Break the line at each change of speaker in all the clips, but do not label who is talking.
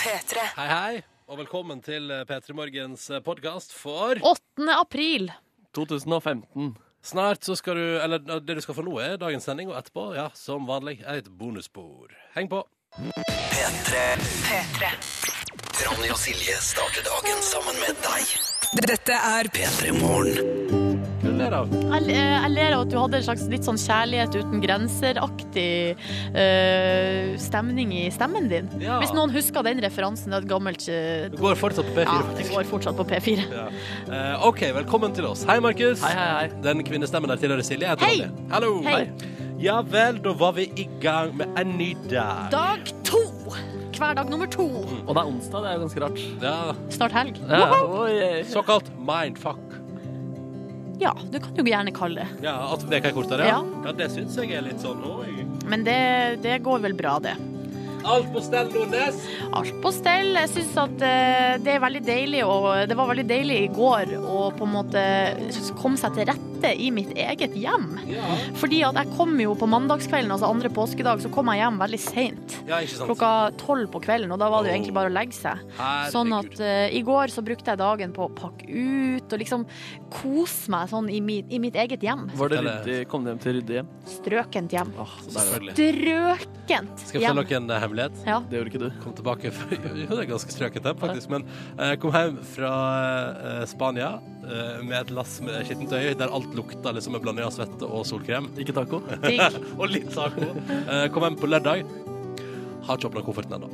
P3.
Hei, hei, og velkommen til P3 Morgens podkast for
8. april.
2015.
Snart så skal du Eller eh, det du skal få nå, er dagens sending, og etterpå, ja, som vanlig, er et bonusbord. Heng på.
P3.
Ronny og Silje starter dagen sammen med deg.
Dette er
P3 Morgen.
Gratulerer.
Jeg, eh, jeg ler av at du hadde en slags litt sånn kjærlighet uten grenser-aktig eh, stemning i stemmen din.
Ja.
Hvis noen husker den referansen. Det er et gammelt eh,
Du går fortsatt på P4.
Ja, det
faktisk.
går fortsatt på P4.
Ja. Eh, OK, velkommen til oss. Hei, Markus.
Hei, hei, hei.
Den kvinnestemmen der tidligere, Silje, heter
Hei.
Ronny. Hallo.
Hei.
Ja vel, da var vi i gang med en ny dag.
Dag to! Hverdag nummer to.
Og det er onsdag, det er jo ganske rart.
Ja,
Snart helg.
Ja, oi.
såkalt mindfuck.
Ja, du kan jo gjerne kalle det
Ja, At veka er kortere?
Ja.
ja det syns jeg er litt sånn oi.
Men det, det går vel bra, det.
Alt på stell, Nordnes.
Alt på stell. Jeg syns at eh, det er veldig deilig, og det var veldig deilig i går å på en måte komme seg til rette i mitt eget hjem.
Ja.
Fordi at jeg kom jo på mandagskvelden, altså andre påskedag, så kom jeg hjem veldig seint.
ja, ikke sant.
Klokka tolv på kvelden, og da var det jo egentlig bare å legge seg.
Herregud.
Sånn at eh, i går så brukte jeg dagen på å pakke ut og liksom kose meg sånn i, mi, i mitt eget hjem.
Var det eh, ryddig? Kom du hjem til ryddig hjem?
Strøkent hjem.
Åh,
Ah,
så deilig.
Selvfølgelig.
Strøkent
Skal jeg
hjem.
fortelle dere en eh, hemmelighet?
Ja.
Det gjorde ikke du.
Kom tilbake fra, Jo, det er ganske strøket hjem, faktisk. Men eh, kom hjem fra eh, Spania eh, med et lass med skittent øye der alt lukta liksom en blanding av svette og solkrem.
Ikke taco?
Digg.
Og litt taco. Eh, kom hjem på lørdag. Har ikke åpna kofferten ennå.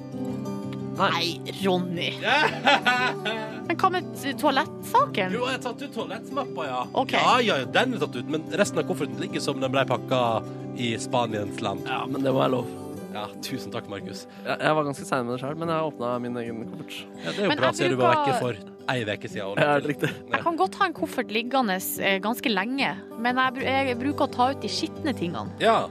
Nei, Ronny. Men hva med toalettsaken?
Jo, jeg har tatt ut toalettmappa, ja.
Ok.
Ja, ja, ja, den er tatt ut, men resten av kofferten ligger som den ble pakka i Spaniens land.
Ja, men det må være lov.
Ja, tusen takk, Markus.
Jeg, jeg var ganske sein med det sjøl, men jeg åpna min egen koffert.
Ja, det er jo
Men
bra,
jeg
ser du var
bruker-
vekke for ei uke siden. og nå
Ja,
til-
det er riktig.
Ja.
Jeg kan godt ha en koffert liggende eh, ganske lenge, men jeg, bru- jeg bruker å ta ut de skitne tingene.
Ja.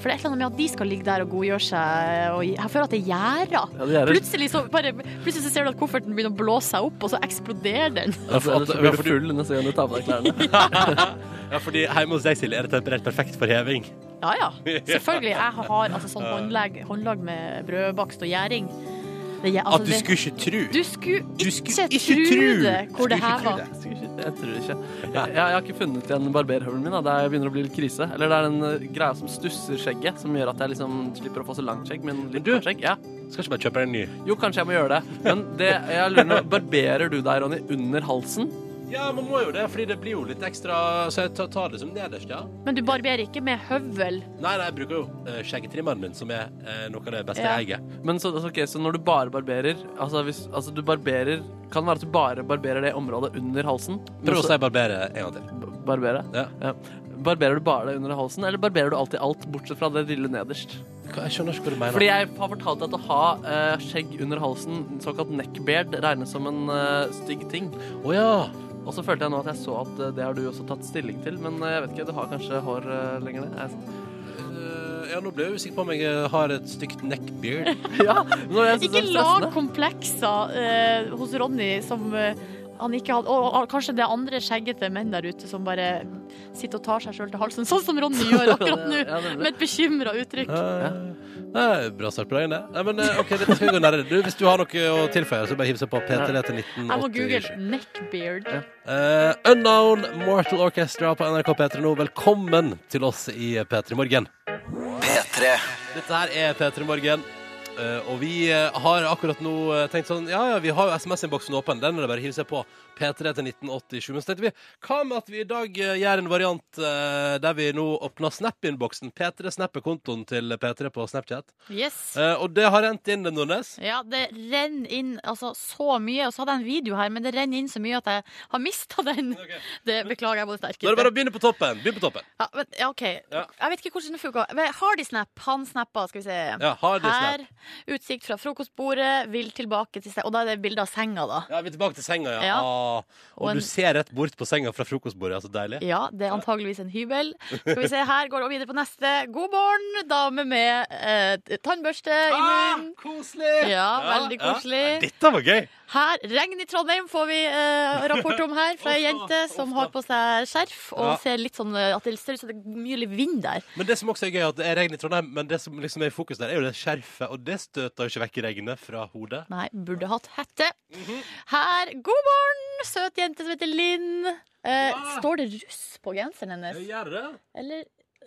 For det er et eller annet med at de skal ligge der og godgjøre seg. Og gi- jeg føler at det gjerder.
Ja, det gjør det.
Plutselig, så bare, plutselig så ser du at kofferten begynner å blåse seg opp, og så eksploderer den.
Ja, for,
Ellers så blir du full neste gang du tar på deg klærne.
ja, fordi hjemme hos deg, Silje, er det temperert perfekt for heving.
Ja ja, selvfølgelig. Jeg har altså, sånn håndlag, håndlag med brødbakst og gjæring. Det gjer- altså,
At du
det-
skulle ikke tro.
du skulle
du
ikke,
skulle ikke tru.
tru det, hvor
Skulle
det her
ikke tru
var.
det.
Jeg tror ikke. Jeg, jeg, jeg har ikke funnet igjen barberhøvelen min. Da. Det er- begynner å bli litt krise. Eller det er den eh, greia som stusser skjegget, som gjør at jeg liksom slipper å få så langt skjegg, men litt
du-
kort skjegg. Ja.
Skal ikke bare kjøpe deg en ny.
Jo, kanskje jeg må gjøre det. Men det, jeg lurer nå, barberer du deg, Ronny, under halsen?
Ja, man må jo det, fordi det blir jo litt ekstra Så jeg tar, tar det som nederst, ja.
Men du barberer ikke med høvel.
Nei, nei, jeg bruker jo eh, skjeggetrimmeren min, som er eh, noe av det beste
Ja.
jeg eier.
Men så, altså, ok, så når du bare barberer Altså, hvis, altså du barberer Kan det være at du bare barberer det området under halsen? men
Prøv å
så-
si barbere en gang til.
b- Barbere?
Ja.
Barberer du bare det under halsen, eller barberer du alltid alt, bortsett fra det lille nederst?
Hva- Jeg skjønner ikke hva du mener.
Fordi jeg har fortalt deg at å ha eh, skjegg under halsen, såkalt neckbeard, regnes som en eh, stygg ting.
Å ja.
Og så følte jeg nå at jeg så at eh, det har du også tatt stilling til, men eh, jeg vet ikke, du har kanskje hår eh, lenger ned? Jeg-
Eh, ja, nå ble jeg usikker på om jeg eh, har et stygt neckbeard.
Ja, når jeg synes det
Ikke
er
lag
stressende. komplekser,
komplekser eh, hos Ronny som eh, han ikke hadde, og kanskje det er andre skjeggete menn der ute som bare sitter og tar seg sjøl til halsen, sånn som Ronny gjør akkurat nå,
Ja, nemlig.
med et bekymra uttrykk.
Ja. Nei, bra start på dagen, Eh, det. Nei, men eh, OK, dette skal vi gå nærmere. Du, hvis du har noe å tilføye, så bare hiv seg på P3 til
Jeg må
1987.
google 'neckbeard'.
Eh, Unknown Mortal Orchestra på NRK P3 nå. Velkommen til oss i P3 Morgen.
P3.
Dette her er P3 Morgen. eh, og vi eh, har akkurat nå eh, tenkt sånn Ja, ja, vi har jo SMS-innboksen åpen. Den er det bare å hive seg på. P3 til 1987. Men så tenkte vi, hva med at vi i dag eh, gjør en variant eh, der vi nå åpner Snap-innboksen? P3 snapper kontoen til P3 på Snapchat.
Yes.
Eh, og det har rent inn, Nordnes.
Ja, det renner inn altså, så mye. Og så hadde jeg en video her, men det renner inn så mye at jeg har mista den. Det beklager jeg på det
Da er det bare
sterkeste.
å begynne på toppen. Begynn på toppen.
Ja, men, ja, OK.
Ja.
Jeg vet ikke hvordan det funker. Men Har de snap? Han snappa, skal vi se.
Ja, har de Snap.
Her, utsikt fra frokostbordet, vil tilbake til seng- Og da er det bilde av senga, da.
Ja, vi er tilbake til senga, ja.
Ja.
Ah, og
Og en-
du ser rett bort på senga fra frokostbordet. Ja, så deilig.
Ja, det er antageligvis en hybel. Skal vi se, her går det videre på neste. God morgen, dame med eh, tannbørste i munnen.
Ah, koselig!
Ja, veldig koselig.
Dette var gøy!
Her, Regn i Trondheim får vi eh, rapport om her fra ei jente som har på seg skjerf og
Ja.
ser litt sånn eh, at det ser ut som det er mye litt vind der.
Men det som også er gøy, er at det er regn i Trondheim, men det som liksom er i fokus der, er jo det skjerfet, og det støter jo ikke vekk regnet fra hodet.
Nei, burde hatt hette. Her, god morgen, søt jente som heter Linn. Eh, Står det russ på genseren hennes?
Gjør det?
Eller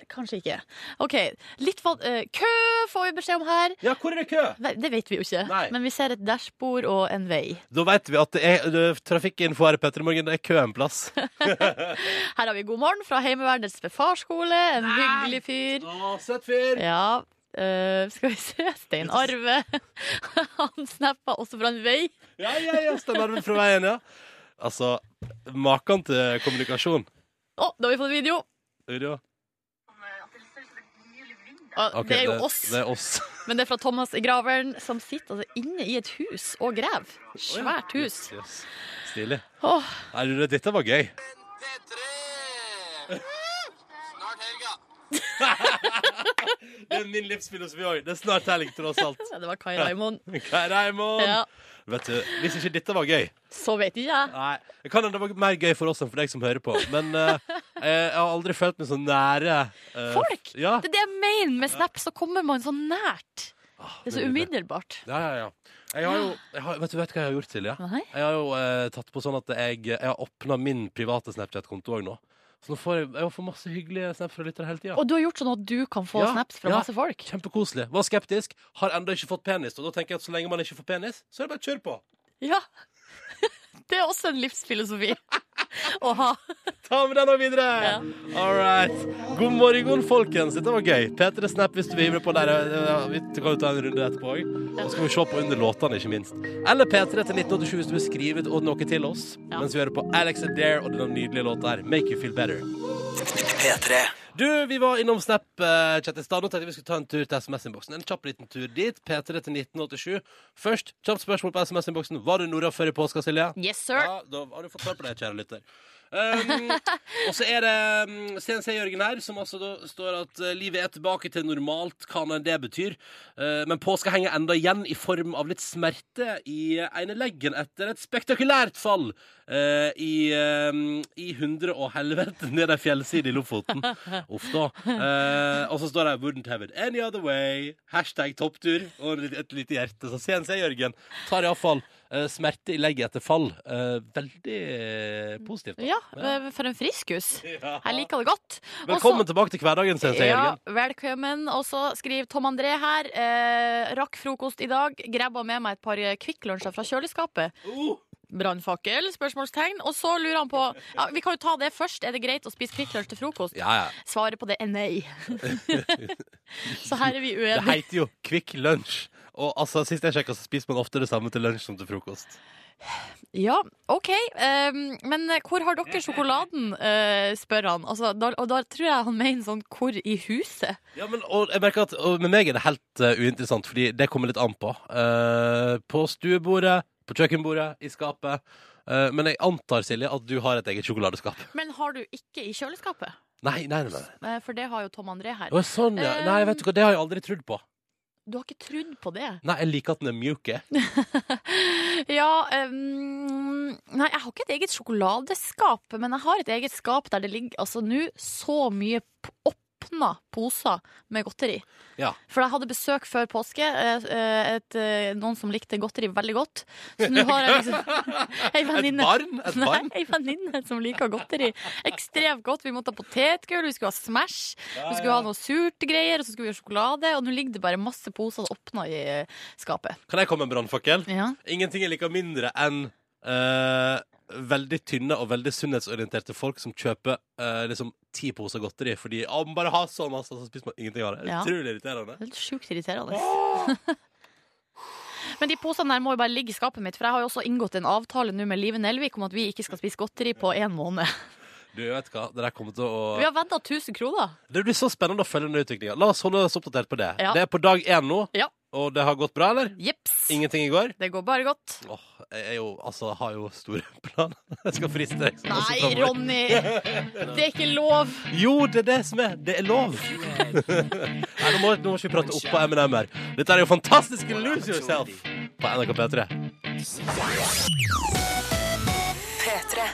kanskje ikke. OK. Litt van eh, Kø får vi beskjed om her.
Ja, hvor er det kø?
Nei, Det vet vi jo ikke,
Nei.
men vi ser et dashbord og en vei.
Da vet vi at det er det- trafikkinfo her, Petter i morgen. Det er kø en plass.
Her har vi God morgen fra Heimevernets befarsskole. En hyggelig fyr.
Å, søt fyr!
Ja, eh, skal vi se. Stein Arve. Han snappa også fra en vei.
Ja, ja, ja, stemmer vel fra veien, ja. Altså, maken til kommunikasjon.
Å, da har vi fått video!
Video.
Og
Ok,
det er jo oss,
Det er oss.
men det er fra Thomas i Graveren, som sitter altså inne i et hus og graver. Svært hus.
Yes. Stilig.
Åh,
Nei, du, dette var gøy.
Snart helga.
Det er min livsfilosofi òg. Det er snart helg, tross alt.
det var Kai Raymond.
Hva er Raymond?
Ja,
Vet du, Hvis ikke dette var gøy
så vet ikke jeg.
Nei, det kan hende det var mer gøy for oss enn for deg som hører på. Men eh, jeg har aldri følt meg så nære eh,
Folk!
Ja.
Det er det jeg mener med snap, så kommer man så nært.
Ah,
Det er så
nydelig.
umiddelbart.
Ja, ja, ja. Jeg har jo jeg har, Vet du vet du hva jeg har gjort, Silje?
Nei?
Jeg har jo eh, tatt på sånn at jeg, jeg har åpna min private Snapchat-konto òg nå. Så nå får jeg, jeg får masse hyggelige snaps fra lyttere hele tida.
Og du har gjort sånn at du kan få
Ja,
snaps fra
ja.
masse folk?
Kjempekoselig. Var skeptisk. Har ennå ikke fått penis. Og da tenker jeg at så lenge man ikke får penis, så er det bare å kjøre på.
Ja. Det er også en livsfilosofi å ha.
Ta med den og videre! All right. God morgen, folkens. Dette var gøy. P3 Snap hvis du vil hive på der. Eh, Vi kan jo ta en runde etterpå òg. Og så skal vi se på under låtene, ikke minst. Eller P3 til 1987 hvis du vil skrive ut noe til oss.
Ja.
Mens vi hører på Alex Adair og den nydelige låta her, Make You Feel Better.
P3.
Du, vi var innom Snap-chat i stad. Nå tenkte jeg vi skulle ta en tur til SMS-innboksen. En kjapp liten tur dit. P3 til 1987. Først, kjapt spørsmål på SMS-innboksen. Var du Nora før i påska, Silje?
Yes, sir.
Ja, da har du fått svar på det, kjære lytter. Um, og så er det um, CNC Jørgen her, som altså da står at uh, livet er tilbake til normalt, hva nå enn det betyr. Uh, men påska henger enda igjen i form av litt smerte i uh, ene leggen etter et spektakulært fall uh, i, um, i hundre og helvete ned ei fjellside i Lofoten. Uff da. Eh, og så står det 'Wouldn't have it any other way'. Hashtag topptur og et- et lite hjerte. Så CNC Jørgen tar iallfall uh, smerte i legget etter fall. Eh, veldig eh, positivt. da.
Ja, eh, for en friskus. Jeg liker det godt. Og så-
Velkommen tilbake til hverdagen, CNC
Ja,
Jørgen.
velkommen. Og så skriver Tom André her. Eh, rakk frokost i dag. Grabba med meg et par Kvikk Lunsjer fra kjøleskapet.
Oh,
Brannfakkel? Spørsmålstegn. Og så lurer han på ja, Vi kan jo ta det først. Er det greit å spise Kvikk Lunsj til frokost?
ja, ja.
Svaret på det er nei. så her er vi
Det
uenige.
heter jo Kvikk lunsj. Og altså, Sist jeg sjekka, spiser man ofte det samme til lunsj som til frokost.
Ja, OK. ehm, men hvor har dere sjokoladen, eh, spør han. Altså, da, og da tror jeg han mener sånn hvor i huset.
Ja, men og jeg merker at og Med meg er det helt eh, uinteressant, fordi det kommer litt an på. Eh, på stuebordet, på kjøkkenbordet, i skapet. Eh, men jeg antar, Silje, at du har et eget sjokoladeskap.
Men har du ikke i kjøleskapet?
Nei, nei, nei. nei.
Eh, For det har jo Tom André her.
Å, sånn, ja. Nei, vet du hva, det har jeg aldri trodd på.
Du har ikke trodd på det?
Nei, jeg liker at den er mjuk. jeg.
Ja ehm, Nei, jeg har ikke et eget sjokoladeskap, men jeg har et eget skap der det ligger altså nå så mye p- åpna poser med godteri.
Ja.
For jeg hadde besøk før påske, eh, eh, et, eh, noen som likte godteri veldig godt. Så nå har jeg liksom ei
Et
venninne
barn? Et
Nei,
barn?
ei venninne som liker godteri. Ekstremt godt. Vi måtte ha potetgull, vi skulle ha Smash, vi skulle ha noe surt greier, og så skulle vi ha sjokolade. Og nå ligger det bare masse poser åpna i eh, skapet.
Kan jeg komme med en brannfakkel?
Ja.
Ingenting jeg liker mindre enn eh, veldig tynne og veldig sunnhetsorienterte folk som kjøper eh, liksom ti poser godteri fordi å, man bare har så masse, og så spiser man ingenting av det. Det er
Ja.
Utrolig irriterende.
Det er litt sjukt irriterende. Men de posene der må jo bare ligge i skapet mitt, for jeg har jo også inngått en avtale nå med Live Nelvik om at vi ikke skal spise godteri på én måned.
Du vet hva, det der kommer til å
Vi har vedda 1000 kroner.
Det blir så spennende å følge den utviklinga. La oss holde oss oppdatert på det.
Ja.
Det er på dag én nå,
Ja.
og det har gått bra, eller?
Jeps.
Ingenting i går?
Det går bare godt.
Åh, jeg er jo, altså, har jo store planer. Jeg skal friste deg. så masse
Nei,
fremover.
Ronny! Det er ikke lov.
Jo, det er det som er. Det er lov. Nei, M&M nå, må, nå må ikke vi prate oppå Eminem her. Dette er jo fantastiske Lose Yourself på NRK P3.
P3.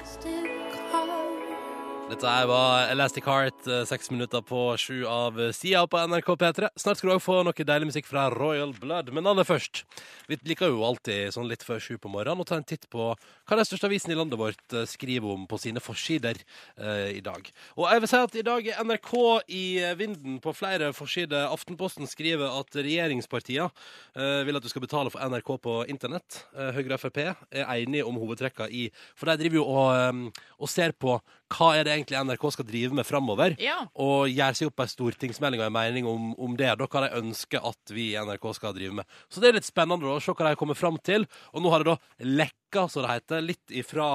Dette her var Elastic Heart, eh, seks minutter på sju av sida på NRK P3. Snart skal du òg få noe deilig musikk fra Royal Blood, men aller først Vi liker jo alltid sånn litt før sju på morgenen å ta en titt på hva de største avisene i landet vårt eh, skriver om på sine forsider eh, i dag. Og jeg vil si at i dag er NRK i eh, vinden på flere forsider. Aftenposten skriver at regjeringspartiene eh, vil at du skal betale for NRK på internett. Eh, Høyre og Frp er enige om hovedtrekka i For de driver jo og, eh, og ser på hva er det egentlig NRK skal drive med framover.
Ja.
Og gjør seg opp ei stortingsmelding og en mening om, om det. Da hva de ønsker at vi i NRK skal drive med. Så det er litt spennende da, å se hva de kommer fram til. Og nå har det da lekka, som det heter, litt ifra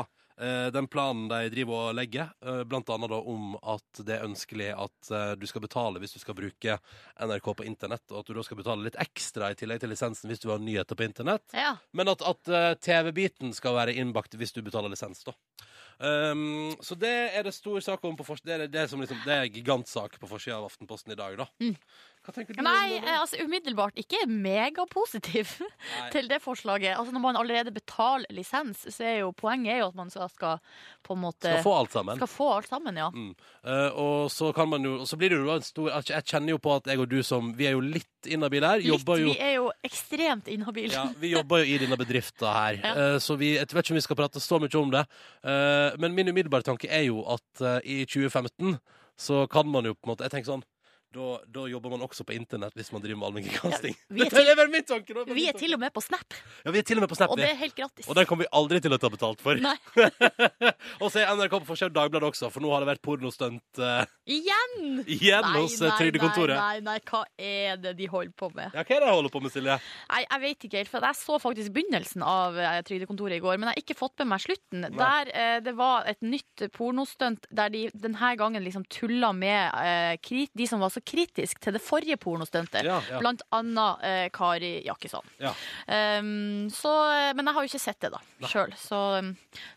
eh, den planen de driver og legger, eh, blant annet da om at det er ønskelig at eh, du skal betale hvis du skal bruke NRK på internett, og at du da skal betale litt ekstra i tillegg til lisensen hvis du har nyheter på internett.
Ja.
Men at, at eh, TV-biten skal være innbakt hvis du betaler lisens, da. Um, så det er det stor sak om på fors- det, er, det, er som liksom, det er gigantsak på forsida av Aftenposten i dag, da. Hva tenker du? om
Mm. Nei,
det?
eh, altså umiddelbart ikke megapositiv
Nei.
til det forslaget. Altså Når man allerede betaler lisens, så er jo poenget er jo at man skal, skal på en måte
Skal få alt sammen.
eh, skal få alt sammen, ja.
Mm. Eh, og så kan man jo Og så blir det jo en stor altså, Jeg jeg kjenner jo på at jeg og du som Vi er jo litt inhabile her.
Litt,
Jobber jo
vi er jo ekstremt inhabile.
Ja, vi jobber jo i denne bedriften her, eh, så vi, jeg vet ikke om vi skal prate så mye om det. Eh, Men min umiddelbare tanke er jo at eh, i 2015 så kan man jo på en måte Jeg tenker sånn da, da jobber man også på internett hvis man driver med allmennkringkasting.
Ja, vi er
Dette er bare min tanke, da, bare
Vi
min
er til og med på Snap,
tanke. ja, vi er til og med på Snap,
og
vi.
det er helt gratis.
Og den kommer vi aldri til å ta betalt for.
Nei.
og så er NRK på forskjell Dagbladet også, for nå har det vært pornostunt eh,
Igjen!
igjen hos eh, Trygdekontoret.
Nei, nei, nei, hva er det de holder på med?
Ja, hva er det jeg holder på med, Silje?
Nei, Jeg vet ikke helt, for jeg så faktisk begynnelsen av eh, Trygdekontoret i går, men jeg har ikke fått med meg slutten. Der eh, det var et nytt pornostunt der de denne gangen liksom tulla med eh, kri- de som var så kritiske til det forrige pornostuntet,
Ja, ja.
blant annet eh, Kari Jakkesson.
Ja.
Um, så, eh, men jeg har jo ikke sett det da, sjøl, så, um,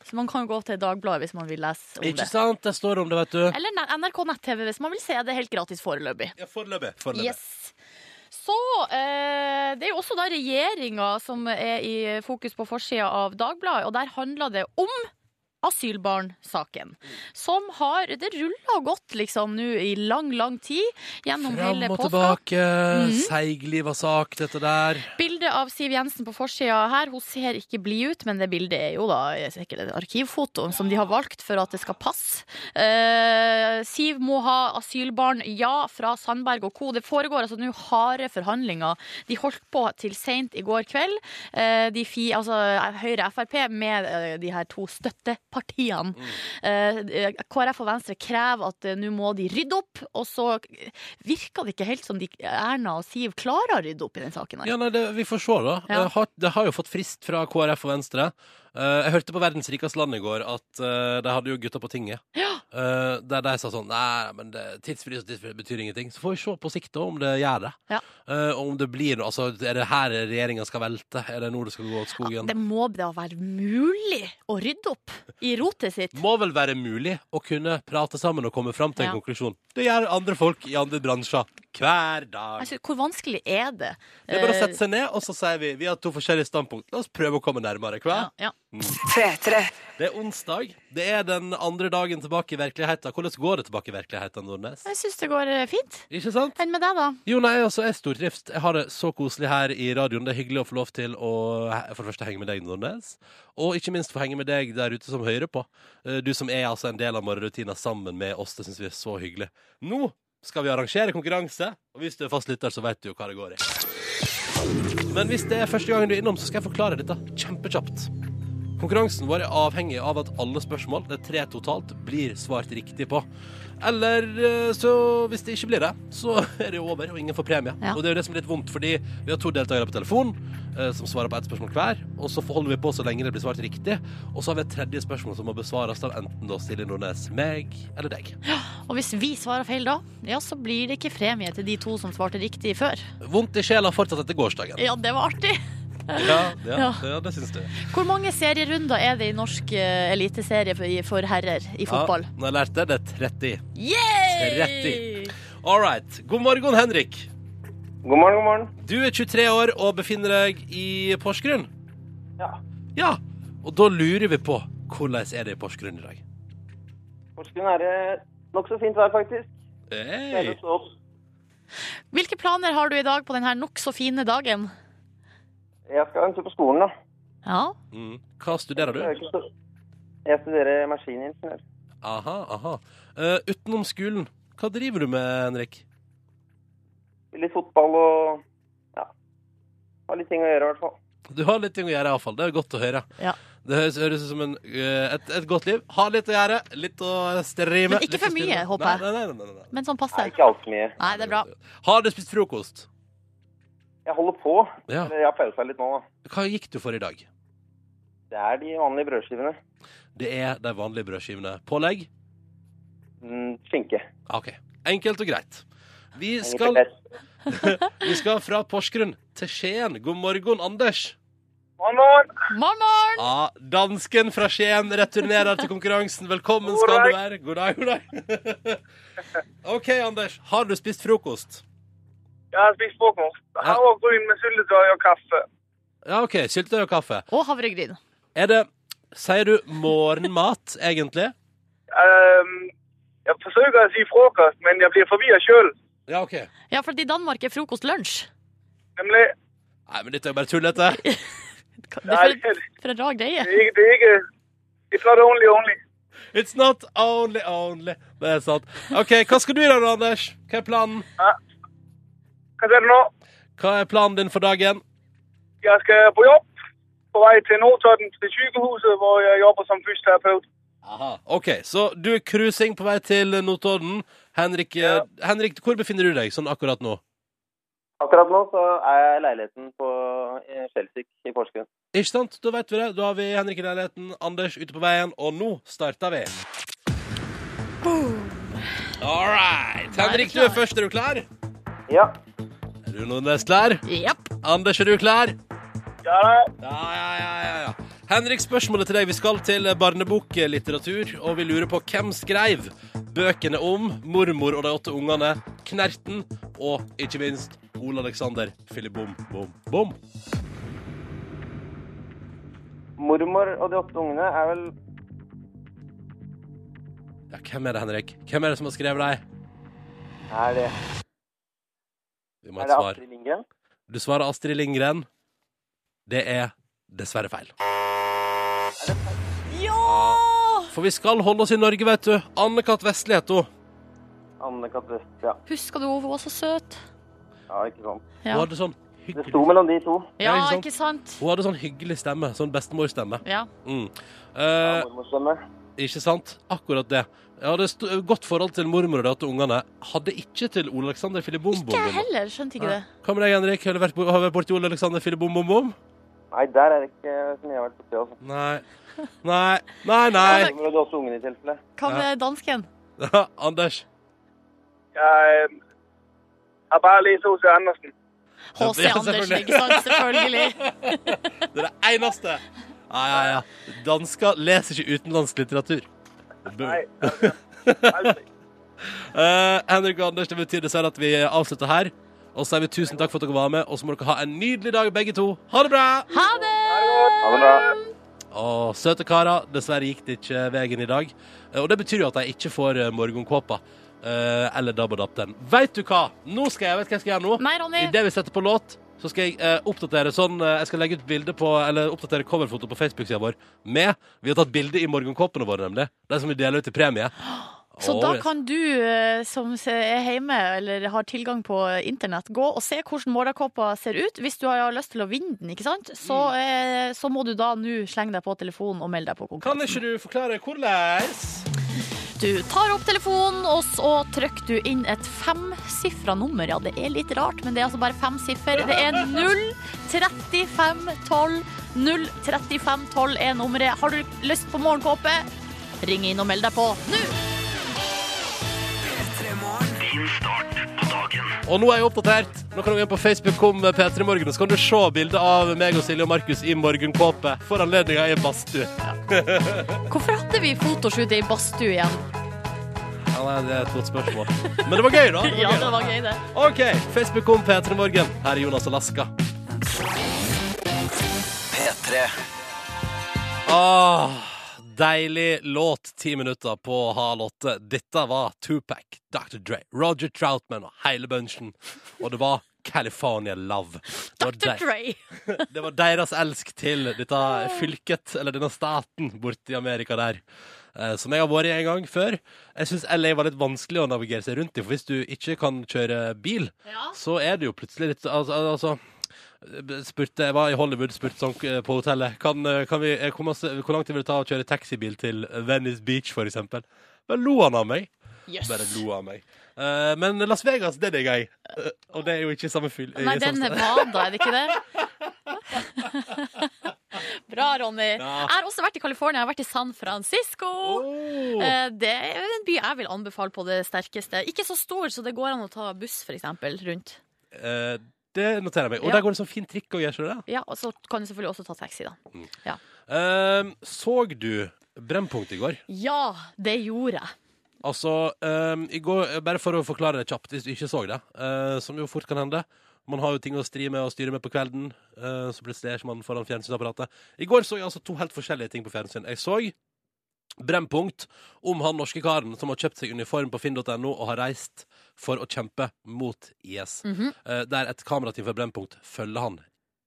så man kan jo gå til Dagbladet hvis man vil lese om
Ikke
det.
sant? Det står om det, vet du.
Eller ne- NRK nett-TV hvis man vil se det helt gratis foreløpig.
Ja, foreløpig. foreløpig.
Yes. Så eh, Det er jo også da regjeringa som er i fokus på forsida av Dagbladet, og der handler det om asylbarnsaken. Som har Det ruller og gått liksom nå i lang, lang tid gjennom
Fram
hele
og
påska.
tilbake.
Mm.
Seigliva sak, dette der.
Bildet av Siv Jensen på forsida her, hun ser ikke blid ut, men det bildet er jo da sikkert et arkivfoto som de har valgt for at det skal passe. Eh, Siv må ha asylbarn, ja, fra Sandberg og co. Det foregår altså nå harde forhandlinger. De holdt på til seint i går kveld, eh, de fi, altså Høyre og Frp med eh, de her to støttepartiene. Eh, KrF og Venstre krever at eh, nå må de rydde opp, og så virker det ikke helt som de, Erna og Siv klarer å rydde opp i den saken. her.
Ja, nei, det, vi får se, da.
Ja.
Eh, Har, det har jo fått frist fra KrF og Venstre. Eh, jeg hørte på Verdens rikeste land i går at eh, de hadde jo gutta på tinget. Eh, der de sa sånn Nei, men det- tidsfrist og tidsfrist betyr ingenting. Så får vi se på sikt da om det gjør det.
Ja.
Eh, og om det blir noe. Altså, er det her regjeringa skal velte? Er det nå det skal gå åt skogen?
Det må da være mulig å rydde opp i rotet sitt.
må vel være mulig å kunne prate sammen og komme fram til en
Ja.
konklusjon. Det gjør andre folk i andre bransjer hver dag.
Altså, hvor vanskelig er det?
Det er bare å
Eh,
sette seg ned, og så sier vi vi har to forskjellige standpunkt. La oss prøve å komme nærmere. Hva?
Ja, ja.
P3.
Det er onsdag. Det er den andre dagen tilbake i virkeligheten. Hvordan går det tilbake i virkeligheten, Nordnes?
Jeg syns det går eh, fint.
Ikke sant?
Enn med deg, da?
Jo, nei, altså, jeg er stortrivst. Jeg har det så koselig her i radioen. Det er hyggelig å få lov til å he- for det første henge med deg, Nordnes, og ikke minst få henge med deg der ute som hører på. Eh, Du som er altså en del av morgenrutina sammen med oss. Det syns vi er så hyggelig. Nå skal vi arrangere konkurranse, og hvis du er fast lytter, så vet du jo hva det går i. Men hvis det er første gangen du er innom, så skal jeg forklare dette kjempekjapt. Konkurransen vår er avhengig av at alle spørsmål, det er tre totalt, blir svart riktig på. Eller eh, så hvis det ikke blir det, så er det jo over, og ingen får premie.
Ja.
Og det er jo det som er litt vondt, fordi vi har to deltakere på telefon eh, som svarer på ett spørsmål hver, og så holder vi på så lenge det blir svart riktig. Og så har vi et tredje spørsmål som må besvares av enten da Silje Nordnes, meg eller deg.
Og hvis vi svarer feil da, ja, så blir det ikke premie til de to som svarte riktig før.
Vondt i sjela fortsatt etter gårsdagen.
Ja, det var artig.
Ja, ja, ja.
Ja.
det syns du.
Hvor mange serierunder er det i norsk eh, eliteserie for, for herrer i fotball?
Ja, når jeg lærte det, det er 30.
Yay!
All right. God morgen, Henrik.
God morgen, god morgen.
Du er 23 år og befinner deg i Porsgrunn.
Ja.
Ja, og da lurer vi på hvordan er det i Porsgrunn i dag.
Porsgrunn er det nokså fint vær, faktisk.
Hey.
Hele stå opp.
Hvilke planer har du i dag på denne nokså fine dagen?
Jeg skal en tur på skolen, da.
Ja.
Mm. Hva studerer
Jeg, er
du?
ikke så- jeg studerer maskiningeniør.
Aha, aha. Eh, utenom skolen, hva driver du med, Henrik?
Litt fotball og ja. Har litt ting å gjøre, i hvert fall.
Du har litt ting å gjøre, iallfall. Det er godt å høre.
Ja.
Det høres, høres ut som en, eh, et, et godt liv. Ha litt å gjøre, litt å streame.
Men ikke
litt
for
å spille.
mye, håper jeg.
Nei, nei, nei, nei, nei.
Men sånn
Nei,
passe.
ikke altfor mye.
Nei, det er bra.
Har du spist frokost?
Jeg holder på.
Ja.
Eller jeg har pausa litt nå, da.
Hva gikk du for i dag?
Det er de vanlige brødskivene.
Det er de vanlige brødskivene. Pålegg?
Mm, skinke.
Ah, OK. Enkelt og greit. Vi
Enkelt og
skal,
greit.
vi skal fra Porsgrunn til Skien. God morgen, Anders.
Morgen, morgen.
Morgen, morgen!
Ja, Dansken fra Skien returnerer til konkurransen. Velkommen skal du være. God dag, god dag. OK, Anders. Har du spist frokost?
Jeg har spist frokost. Her var brun med syltetøy og kaffe.
Ja, OK. Syltetøy og kaffe.
Og havregryn.
Er det Sier du morgenmat, egentlig?
Ehm, jeg forsøker å si frokost, men jeg blir forvirret sjøl.
Ja, OK.
Ja, for i Danmark er frokost lunsj.
Nemlig
Nei, men dette er jo bare tullete.
Det er for,
Nei, det er
en- for en rar greie.
ikke- det er ikke It's not only only.
It's not only only Det er sant. OK, hva skal du gjøre da, Anders? Hva er planen?
Hva sier du nå?
Hva er planen din for dagen?
Jeg skal på jobb. På vei til Notodden, til sykehuset, hvor jeg jobber som fysioterapeut.
Aha. OK, så du er cruising på vei til Notodden. Henrik, eh, Henrik, hvor befinner du deg sånn akkurat nå?
Akkurat nå så er jeg i leiligheten på eh, Skjelsvik i Porsgrunn.
Ikke sant? Da vet vi det. Da har vi Henrik i leiligheten, Anders ute på veien, og nå starter vi. All right. Henrik, du er først. Er du klar?
Ja.
Er du Nordnes klar?
Japp.
Anders, er du klar?
Ja,
Ja, ja, ja, ja, ja. Henrik, spørsmålet til deg. Vi skal til barneboklitteratur, og vi lurer på hvem skrev bøkene om mormor og de åtte ungene, Knerten og ikke minst Ole Alexander Filibom Bom Bom.
Mormor og de åtte ungene er vel
Ja, hvem er det, Henrik? Hvem er det som har skrevet dem?
Er det,
Vi må
er
ha
det
et svar.
Astrid Lindgren?
Du svarer Astrid Lindgren. Det er dessverre feil.
Ja!
For vi skal holde oss i Norge, vet du. Anne-Kat. Vestli heter hun.
Anne-Kat. West, ja.
Husker du hun var så søt?
ja. Ikke sant.
Hun
Ja,
hadde sånn
Det
hyggelig,
sto mellom de to.
ja
Ja, ikke
ikke sant?
hun hadde sånn hyggelig stemme. Sånn bestemorstemme.
Ja.
Mm. Eh,
Ja, mormorstemme.
Ikke sant? Akkurat det. Jeg hadde st godt forhold til mormor og de åtte ungene. Hadde ikke til Ole Alexander Filibom-bom.
Ikke jeg heller, skjønte ikke det.
Hva med deg, Henrik? Har du vært, bo- har du vært borti Ole Alexander Filibom-bom-bom?
Nei, der er det ikke så mye jeg har vært på sted. Altså.
Nei. Nei, nei, nei.
Mormor og de åtte ungene i tilfelle.
Hva med dansken?
Anders.
jeg ehm, har bare lest H.C. Andersen.
H.C.
Ja,
Andersen,
selvfølgelig.
ikke sant? Selvfølgelig.
Det er det eneste. Ja, ja, ja. Dansker leser ikke utenlandsk litteratur. Bø.
Nei. Aldri.
Eh, Henrik og Anders, det betyr dessverre at vi avslutter her. Og så sier vi tusen takk for at dere var med, og så må dere ha en nydelig dag, begge to. Ha det bra!
Ha det!
Ha det bra.
Og søte karer, dessverre gikk det ikke veien i dag. Eh, Og det betyr jo at de ikke får eh, morgenkåpa. eh, Eller dabbadapp-den. Veit du hva? Nå skal jeg, vet du hva jeg skal gjøre nå?
Nei, Ronny.
Idet vi setter på låt, så skal jeg eh, oppdatere sånn eh, Jeg skal legge ut bilde på Eller oppdatere coverfoto på Facebook-sida vår med Vi har tatt bilde i morgenkåpene våre, nemlig. De som vi deler ut i premie.
Så
Oh,
da
yes.
kan du eh, som se- er hjemme eller har tilgang på internett, gå og se hvordan morgenkåpa ser ut. Hvis du har lyst til å vinne den, ikke sant? Så,
Mm.
eh, så må du da nå slenge deg på telefonen og melde deg på
Kan
konkurransen.
ikke du forklare hvordan?
Du tar opp telefonen, og så trykker du inn et femsifra nummer. Ja, det er litt rart, men det er altså bare fem siffer. Det er 03512. 03512 er nummeret. Har du lyst på morgenkåpe? Ring inn og meld deg på nå!
Og nå er jeg oppdatert. Nå kan du gå inn på Facebook kom med P3 Morgen, og så kan du se bilde av meg og Silje og Markus i morgenkåpe for anledninga i badstue.
Hvorfor hadde vi fotoshoot i badstue igjen?
Ja, nei, det er et godt spørsmål. Men det var gøy, da. Det var
Ja,
gøy,
det
da.
var gøy, det.
OK. Facebook kom P3 Morgen. Her er Jonas Alaska.
P3.
Åh, Ah, deilig låt. Ti minutter på halv åtte. Dette var Tupac, Dr. Dre, Roger Troutman og hele bunchen. Og det var California Love. Det var
Dr.
de-
Dre.
det var deres elsk til dette fylket, eller denne staten borti Amerika der. eh, Som jeg har vært i en gang før. Jeg syns LA var litt vanskelig å navigere seg rundt i. For hvis du ikke kan kjøre bil,
Ja.
så er det jo plutselig litt Altså, altså spurte, Jeg var i Hollywood spurte sånn eh, på hotellet kan, eh, kan vi, eh, hvor, masse, hvor langt vil det ta å kjøre taxibil til Venice Beach, for eksempel? Da lo han av meg.
Yes.
Bare lo av meg. Eh, men Las Vegas, det digger jeg. Eh, og det er jo ikke samme fyll.
Nei, det er Nevada, er det ikke det? Bra, Ronny.
Ja.
Jeg har også vært i California. Jeg har vært i San Francisco. Eh, Det er en by jeg vil anbefale på det sterkeste. Ikke så stor, så det går an å ta buss for eksempel, rundt.
Eh, det noterer jeg meg. Og
Ja.
der går det sånn fin trikk òg, gjør ikke det?
Ja, og så kan du selvfølgelig også ta taxi, da.
Ehm, såg du Brennpunkt i går?
Ja, det gjorde jeg.
Altså, ehm, i går, bare for å forklare det kjapt, hvis du ikke så det, eh, som jo fort kan hende. Man har jo ting å stri med og styre med på kvelden, eh, så plutselig er ikke man foran fjernsynsapparatet. I går så jeg altså to helt forskjellige ting på fjernsyn. Jeg så Brennpunkt om han norske karen som har kjøpt seg uniform på finn.no og har reist for å kjempe mot IS.
Mhm.
Eh, der et kamerateam fra Brennpunkt følger han.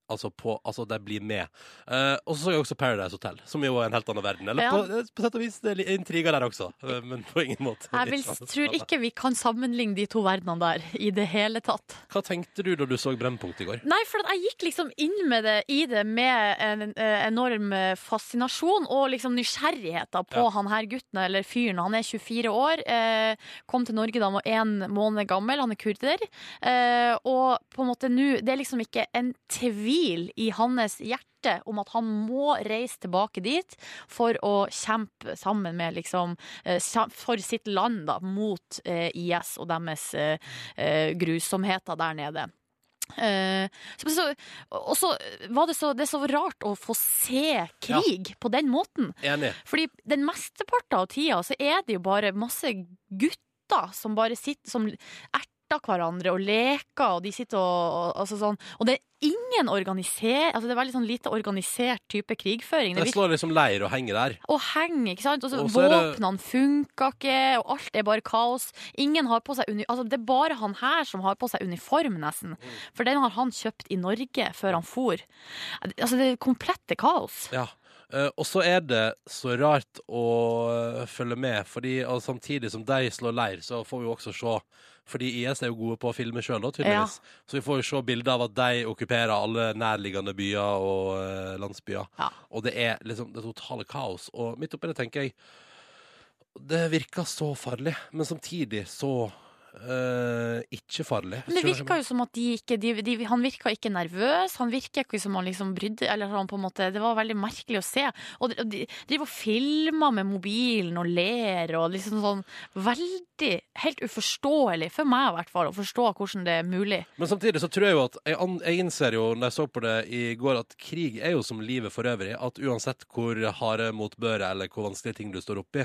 Altså, på, altså de blir med. Eh, og så så jeg også Paradise Hotel, som jo er en helt annen verden. Eller
Ja.
på, eh, på sett og vis det er litt intriger der også, eh, men på ingen måte.
Jeg vil, tror ikke vi kan sammenligne de to verdenene der i det hele tatt.
Hva tenkte du da du så Brennpunkt i går?
Nei, for at jeg gikk liksom inn med det, i det med en, en enorm eh, fascinasjon og liksom nysgjerrighet da, på
Ja.
han her gutten eller fyren. Han er 24 år, eh, kom til Norge da han var en måned gammel, han er kurder. Eh, og på en måte nå, det er liksom ikke en tvil i hans hjerte om at han må reise tilbake dit for å kjempe sammen med liksom eh, sam- for sitt land da, mot eh, IS og deres eh, eh, grusomheter der nede. Eh, så, så, og så var det så, det er så rart å få se krig på den måten.
Enig.
Fordi den mesteparten av tida så er det jo bare masse gutter som bare sitter som erter hverandre og leker, og de sitter og, og altså sånn. Og det er ingen organiser... Altså det er veldig sånn lite organisert type krigføring. Det
Jeg
virker,
slår liksom leir og henger der.
og henger, ikke sant? Og så
Og så er det-
våpnene funker ikke, og alt er bare kaos. Ingen har på seg uni... Altså det er bare han her som har på seg uniform, nesten.
Mm.
For den har han kjøpt i Norge før han for. Altså det er komplette kaos.
Ja. Eh, og så er det så rart å eh, følge med, fordi og samtidig som de slår leir, så får vi jo også se Fordi IS er jo gode på å filme sjøl, tydeligvis. Så vi får jo se bilder av at de okkuperer alle nærliggende byer og eh, landsbyer.
Ja.
Og det er liksom det totale kaos. Og midt oppi det tenker jeg Det virker så farlig, men samtidig så eh, ikke farlig.
Men det virka jo som at de ikke de, de, Han virka ikke nervøs, han virka ikke som han liksom brydde Eller han på en måte Det var veldig merkelig å se. Og de, og de driver og filmer med mobilen og ler og liksom sånn Veldig Helt uforståelig, for meg i hvert fall, å forstå hvordan det er mulig.
Men samtidig så tror jeg jo at jeg, an, jeg innser jo når jeg så på det i går, at krig er jo som livet for øvrig. At uansett hvor harde motbøret eller hvor vanskelige ting du står oppi,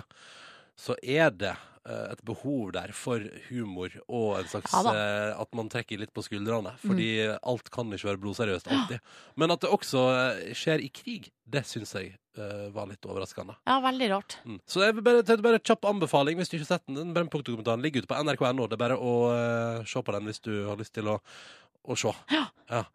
så er det eh, et behov der for humor og en slags
Ja da. Mm.
eh, At man trekker litt på skuldrene. Fordi alt kan ikke være blodseriøst alltid. Men at det også eh, skjer i krig, det syns jeg eh, var litt overraskende.
Ja, veldig rart.
Mm. Så jeg vil bare, det er bare en kjapp anbefaling hvis du ikke har sett den. Den Brennpunkt-dokumentaren ligger ute på nrk.no. Det er bare å eh, se på den hvis du har lyst til å, å se.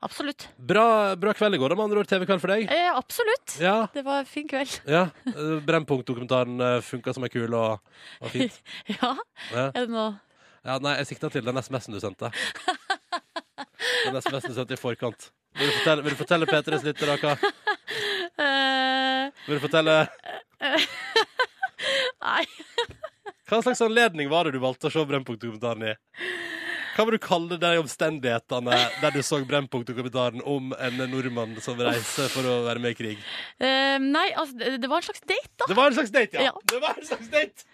Absolutt.
Bra, bra kveld i går, da, med andre ord. TV-kveld for deg.
Eh, absolutt.
Ja.
Det var en fin kveld.
ja. eh, Brennpunkt-dokumentaren eh, funka som ei kul og, og fint.
Ja,
Ja.
er det noe
ja, nei, jeg sikta til den SMS-en du sendte. Den SMS-en du sendte i forkant. Vil du fortelle, vil du fortelle P3s lyttere hva?
eh,
Vil du fortelle
Nei.
Hva slags anledning var det du valgte å se Brennpunkt-dokumentaren i? Hva vil du kalle de omstendighetene der du så Brennpunkt-dokumentaren om en nordmann som reiser for å være med i krig?
Eh, nei, altså, det- det var en slags date, da.
Det var en slags date, ja!
Ja.
Det var en slags date!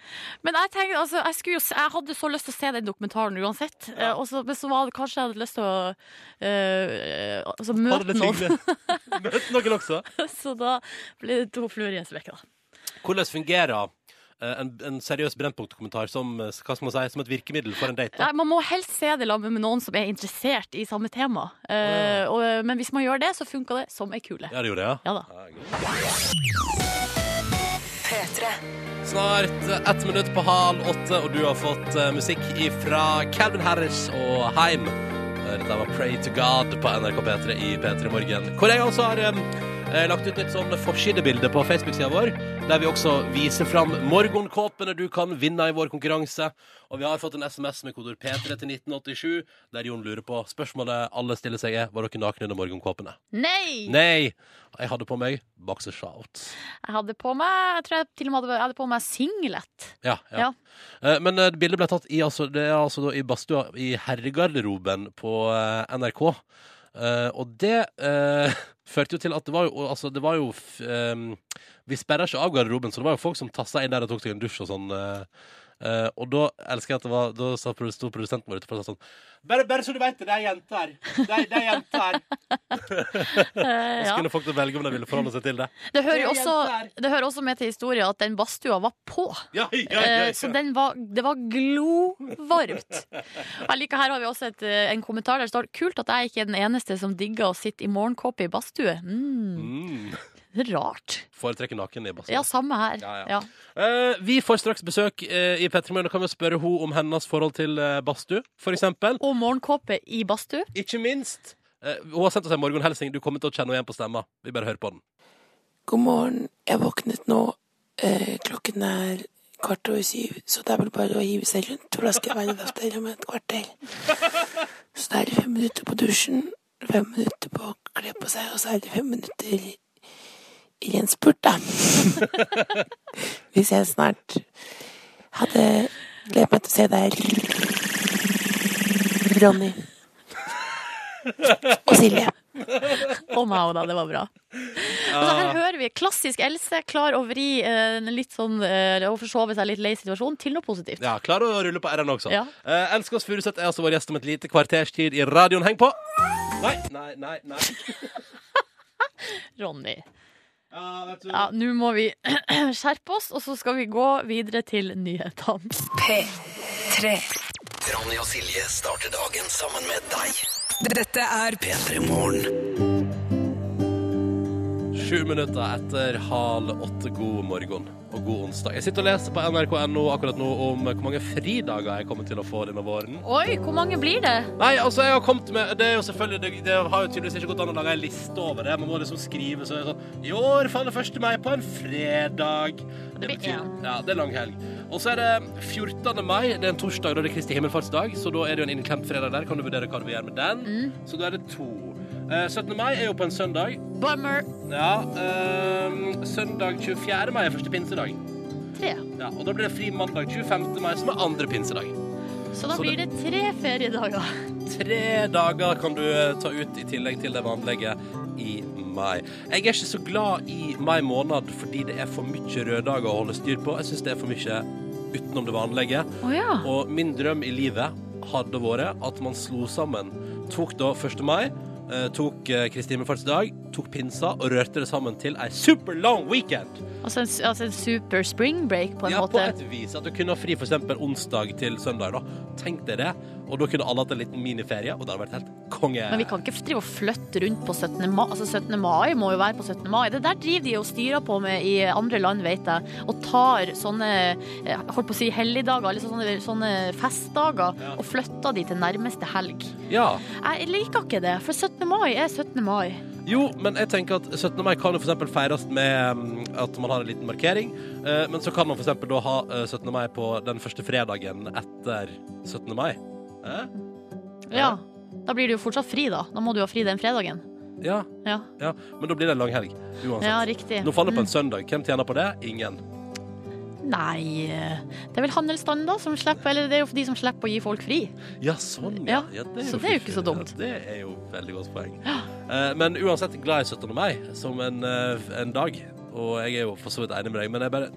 Men jeg tenkte, altså, jeg, skulle jo, se- jeg hadde så lyst til å se den dokumentaren uansett. Eh, og så- men så var det kanskje jeg hadde lyst til å eh, altså,
Ha det
møte
litt
noen.
hyggelig. Møtte noen også.
så da ble det to fluer i en smekk, da.
Hvordan fungerer eh, en, en seriøs Brennpunkt-kommentar som, eh, hva skal man si, som et virkemiddel for en date.
Nei,
Da.
man må helst se det sammen med noen som er interessert i samme tema. Eh, og, men hvis man gjør det, så funker det som ei kule.
Ja, det gjorde jeg.
Ja da.
P3.
Snart eh, ett minutt på halv åtte, og du har fått eh, musikk ifra Calvin Harris og Heim. Eh, Dette var Pray to God på NRK P3 i P3 Morgen. Hvor jeg altså har eh, eh, lagt ut litt sånn forsidebilde på Facebook-sida vår, der vi også viser fram morgenkåpene du kan vinne i vår konkurranse. Og vi har fått en SMS med kodord P3 til 1987, der Jon lurer på spørsmålet alle stiller seg er var dere nakne under morgenkåpene.
Nei!
Nei! Jeg hadde på meg boxershorts.
Jeg hadde på meg jeg tror jeg til og med hadde, jeg hadde på meg singlet.
Ja, ja. Eh, Men eh, bildet ble tatt i, altså, det er altså da, i badstua i herregarderoben på eh, NRK. Eh, og det eh, førte jo til at det var jo, altså, det var jo f, ehm, Vi sperra ikke av garderoben, så det var jo folk som tassa inn der og tok seg en dusj og sånn. eh. Eh, og da elsker jeg at det var Da sa produ- sto produsenten vår utenfor og sa sånn Bare, bare så du veit det, det er jenter her. Det er, det er jenter her.
Eh,
Og så
ja.
kunne folk da velge om de ville forholde seg til det.
det, hører jo
Det er
også,
jenter.
det hører også med til historien at den badstua var på.
Ja, ja, ja, ja.
Eh, Så den var, det var glovarmt. Jeg liker, her har vi også et, eh, en kommentar der det står Kult at jeg ikke er den eneste som digger å sitte i morgenkåpe i badstue. Mm,
mm,
rart.
foretrekker naken i badstua.
Ja, samme her.
Mm. Ja, ja.
Ja.
Eh, vi får straks besøk eh, i Petremorgen og kan vi spørre henne om hennes forhold til eh, badstue, for eksempel.
Og morgenkåpe i badstue.
Ikke minst eh, Hun har sendt oss en morgenhelsing. Du kommer til å kjenne henne igjen på stemma. Vi bare hører på den.
God morgen. Jeg våknet nå. Eh, klokken er kvart over syv, så det er vel bare å hive seg rundt. For da skal jeg være der der om et kvarter. Så da er det fem minutter på dusjen, fem minutter på å kle på seg, og så er det fem minutter i en spurt, da. Vi ses snart. Hadde gledet meg til å se deg, Ronny. Og Silje.
Og meg òg, da. Det var bra. Altså,
Ah.
her hører vi klassisk Else klar å vri eh, en litt sånn eh, Å forsove seg litt lei situasjon til noe positivt.
Ja, Klarer å rulle på R-en også.
Ja.
Eh, Elsker oss Furuseth er altså vår gjest om et lite kvarters tid i radioen. Heng på! Nei, nei, nei. nei.
Ronny.
Ja, vet du.
Ja, nå må vi skjerpe oss, og så skal vi gå videre til nyhetene.
P3.
Ronny og Silje starter dagen sammen med deg.
Dette er
P3 Morgen.
Sju minutter etter halv åtte. God morgen og god onsdag. Jeg sitter og leser på nrk.no akkurat nå om hvor mange fridager jeg kommer til å få denne våren.
Oi, hvor mange blir det?
Nei, altså jeg har kommet med Det er jo selvfølgelig Det, det har jo tydeligvis ikke gått an å lage en liste over det. Man må liksom skrive så er det sånn I år faller 1. mai på en fredag. Det
blir én.
Ja, det er lang helg. Og så er det 14. mai. Det er en torsdag, da det er Kristi himmelfartsdag, så da er det jo en innklemt fredag der. Kan du vurdere hva du vil gjøre med den? Så da er det to. Eh, 17. mai er jo på en søndag.
Bummer.
Ja. ehm, søndag 24. mai er første pinsedag.
Tre.
Ja, og da blir det fri mandag 25. mai, som er andre pinsedag.
Så da
Så
blir det tre feriedager.
Tre dager kan du eh, ta ut i tillegg til det vanlige i mai. Jeg er ikke så glad i mai måned fordi det er for mye røde dager å holde styr på. Jeg syns det er for mye utenom det vanlige.
Å ja.
Og min drøm i livet hadde vært at man slo sammen. Tok da 1. mai, eh, tok eh, Kristi himmelfartsdag, tok pinsa og rørte det sammen til ei super long weekend.
Altså en, altså en super spring break, på en
Ja, på
måte.
et vis. At du kunne ha fri f.eks. onsdag til søndag. da. Tenk deg det. Og da kunne alle hatt en liten miniferie, og det hadde vært helt konge.
Men vi kan ikke drive og flytte rundt på 17. mai. Altså 17. mai må jo være på 17. mai. Det der driver de og styrer på med i andre land, vet jeg. Og tar sånne eh, holdt på å si helligdager, eller sånne, sånne festdager,
Ja.
og flytter de til nærmeste helg.
Ja.
Jeg liker ikke det, for 17. mai er 17. mai.
Jo, men jeg tenker at 17. mai kan jo for eksempel feires med mm, at man har en liten markering. eh, Men så kan man for eksempel da ha eh, 17. mai på den første fredagen etter 17. mai. Eh?
Ja. Da blir det jo fortsatt fri, da. Da må du ha fri den fredagen.
Ja,
Ja,
ja. Men da blir det en lang helg uansett.
ja riktig.
Nå faller det på en søndag. Hvem tjener på det? Ingen.
Nei eh, Det er vel handelsstanden, da, som slipper Eller det er jo de som slipper å gi folk fri.
Ja, sånn,
Ja, så det er jo ikke så
fiffig.
dumt.
Ja, det er jo veldig godt poeng. Eh, Men uansett glad i 17. mai som en, eh, en dag. Og jeg er jo for så vidt enig med deg, men jeg bare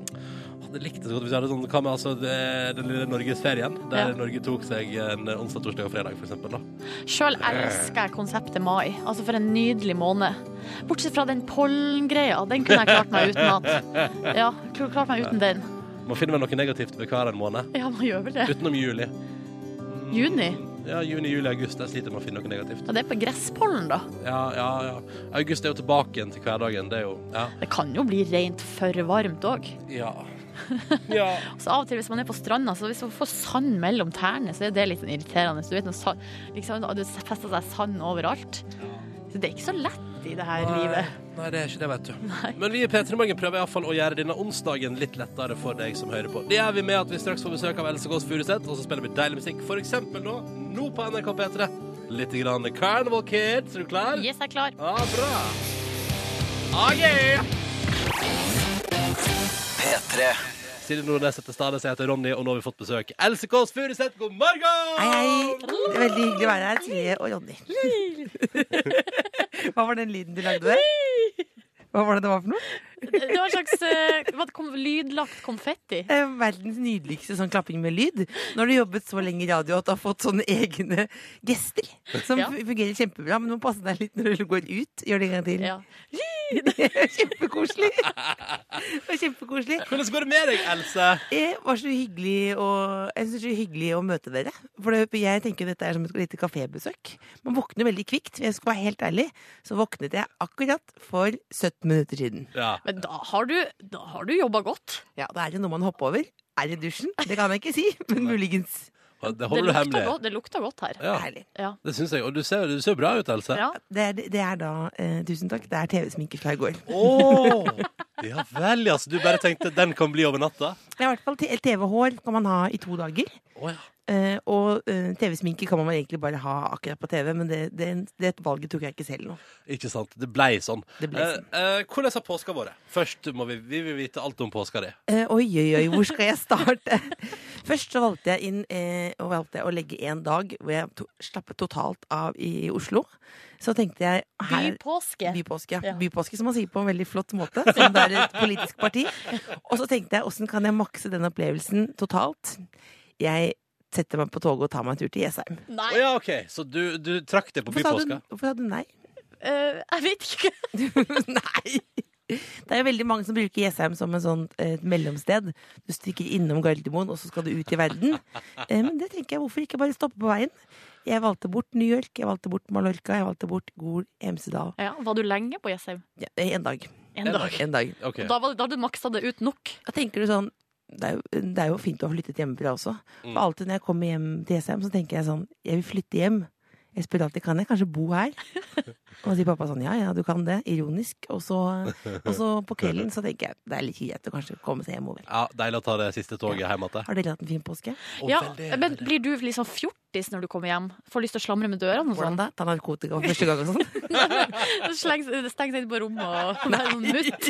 hadde likt det så godt hvis jeg hadde sånn Hva med altså, det- den lille norgesferien, der
Ja.
Norge tok seg en onsdag, torsdag og fredag, for eksempel, da.
Sjøl elsker jeg konseptet mai. Altså, for en nydelig måned. Bortsett fra den pollengreia. Den kunne jeg klart meg uten at Ja, kl- klart meg uten den.
Man finner vel noe negativt ved hver en måned.
Ja, man gjør vel det.
Utenom juli.
Juni.
Ja, juni, juli, august. Der sliter man å finne noe negativt.
Ja, det er på gresspollen, da.
Ja, ja, ja. August er jo tilbake igjen til hverdagen. Det er jo Ja.
Det kan jo bli rent for varmt òg.
Ja. ja.
Så av og til hvis man er på stranda, så hvis man får sand mellom tærne, så er det litt sånn irriterende. Så du vet når sand, liksom, det fester seg sand overalt. Så det er ikke så lett i det her livet.
Nei, det er ikke det, vet du. Men vi i P3 Morgen prøver iallfall å gjøre denne onsdagen litt lettere for deg som hører på. Det gjør vi med at vi straks får besøk av Else Kåss Furuseth, og så spiller vi deilig musikk. For eksempel nå, nå på NRK P3, litt grann Carnival Kids. Er du klar?
Yes, jeg er klar.
Ja, bra. Ah, yeah!
P3
Silje Nordnes heter Stades, jeg heter Ronny, og nå har vi fått besøk. Else Kåss Furuseth, god morgen!
Hei, hei. Det er veldig hyggelig å være her. Silje og Jonny. Hva var den lyden du lagde der? Hva var det det var for noe?
Det var en slags eh, hva, kom, lydlagt konfetti.
Eh, Verdens nydeligste sånn klapping med lyd. Når du har jobbet så lenge i radio at du har fått sånne egne gester som
Ja.
fu- fungerer kjempebra, men du må passe deg litt når du går ut. Gjør det en gang til.
Ja.
kjempekoselig. Det var kjempekoselig.
Hvordan går det med deg, Else?
Det var så hyggelig å, jeg synes det er hyggelig å møte dere. For det, jeg tenker dette er som et lite kafébesøk. Man våkner veldig kvikt. men Jeg skal være helt ærlig, så våknet jeg akkurat for 17 minutter siden.
Ja.
Men da har du, da har du jobba godt.
Ja, Det er jo noe man hopper over. Er det dusjen? Det kan jeg ikke si, men muligens.
Det
Det
holder du
lukta,
hemmelig.
godt, det lukta godt her.
Ja,
Herlig.
Ja.
det syns jeg. Og du ser du ser jo bra ut, Else.
Ja.
Det er, det er da eh, Tusen takk. Det er TV-sminke fra i går.
Åh, ja vel, altså. Du bare tenkte den kan bli over natta?
Det er i hvert fall t- TV-hår kan man ha i to dager.
Å ja.
Eh, og eh, TV-sminke kan man egentlig bare ha akkurat på TV, men det, det, det valget tok jeg ikke selv nå.
Ikke sant. Det blei sånn.
Det ble sånn.
Eh, eh, hvordan har påska vært? Først må vi, vi vil vite alt om påska di.
Eh, oi, oi, oi, hvor skal jeg starte? Først så valgte jeg, inn, eh, og valgte jeg å legge en dag hvor jeg to slappet totalt av i Oslo. Så tenkte jeg her,
Bypåske.
Bypåske, ja.
Ja.
Bypåske, som man sier på en veldig flott måte. Som det er et politisk parti. Og så tenkte jeg, åssen kan jeg makse den opplevelsen totalt? Jeg setter meg på toget og tar meg en tur til Jessheim.
Nei,
Å ja, OK. Så du, du trakk det på
Hvorfor sa du,
bypåska?
hvorfor sa du nei?
eh, jeg vet ikke.
Nei! Det er jo veldig mange som bruker Jessheim som en sånn, eh, et mellomsted. Du stikker innom Gardermoen, og så skal du ut i verden. Eh, men det tenker jeg, hvorfor ikke bare stoppe på veien? Jeg valgte bort New York, jeg valgte bort Mallorca, jeg valgte bort Gol, Hemsedal.
Ja, var du lenge på Jessheim?
Ja, eh, en dag.
En dag.
En dag.
OK.
Og Da, var, da hadde du maksa det ut nok.
Da tenker du sånn det er, jo, det er jo fint å ha flyttet hjemmefra også. For
Mm.
alltid når jeg kommer hjem til Jessheim, så tenker jeg sånn Jeg vil flytte hjem. Jeg spør alltid kan jeg kanskje bo her. Og så sier pappa sånn ja, ja, du kan det. Ironisk. Og så, og så på kvelden så tenker jeg det er litt greit å kanskje komme seg hjemover.
Ja, Deilig å ta det siste toget hjem igjen.
Har dere hatt en fin
Å,
påske?
ja,
veldig, veldig.
men blir du liksom fjortis når du kommer hjem? Får lyst til å slamre med dørene og
Hvordan
sånn?
da? Ta narkotika for første gang og sånn?
Slenge stenge seg inn på rommet og være sånn mutt.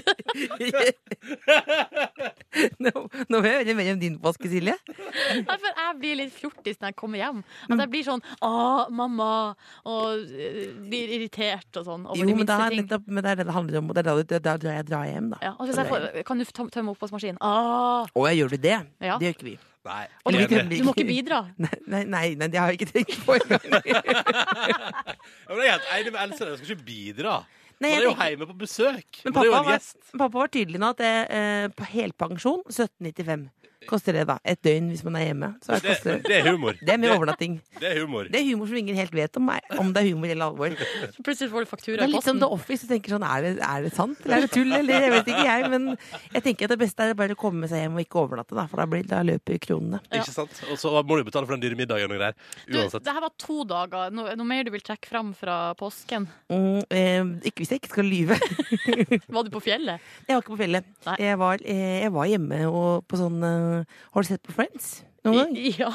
Nå, nå vil jeg høre mer om din påske, Silje.
Nei, for jeg blir litt fjortis når jeg kommer hjem. At jeg blir sånn 'Å, mamma', og eh, blir irritert og sånn. Over
Jo,
de
men,
minste
da, er
ting.
nettopp, men det er det det handler om. Og det er da, du- det er da jeg drar hjem, da.
Ja, og hvis jeg får, kan du tøm- tømme oppvaskmaskinen? Ah,
Å, jeg gjør du det?
Ja.
Det gjør ikke vi.
Nei.
og du,
Eller vi
enig.
tømmer
du må ikke bidra.
Nei, nei, nei, nei, det har jeg ikke tenkt på engang.
Ja, men jeg er helt enig med Else. Jeg skal ikke bidra. Man
Nei, jeg
er jo
tenker-
hjemme på besøk.
Men
Man er jo en
pappa var,
gjest.
pappa var tydelig nå at det, eh, på helpensjon 1795 koster det da. Et døgn hvis man er hjemme. Så det,
Det,
koster, det,
det er humor.
er med overnatting.
Det er humor.
Det er humor som ingen helt vet om, er- om det er humor eller alvor. Det
Så plutselig får du faktura
er
i
litt som
posten.
The Office. Du tenker sånn, er det, er det sant eller er det tull? Eller, jeg vet ikke jeg, men jeg tenker at det beste er bare å komme seg hjem og ikke overnatte, da, for da, blir, da løper kronene.
Ikke sant? Og så må du betale for den dyre middagen og greier.
Du,
Uansett.
det her var to dager. Noe, noe mer du vil trekke fram fra påsken?
Mm, eh, ikke hvis jeg ikke skal lyve.
Var du på fjellet?
Jeg var ikke på fjellet.
Nei.
Jeg var, eh, jeg var hjemme og på sånn eh, Har du sett på Friends? Noen gang?
I, ja.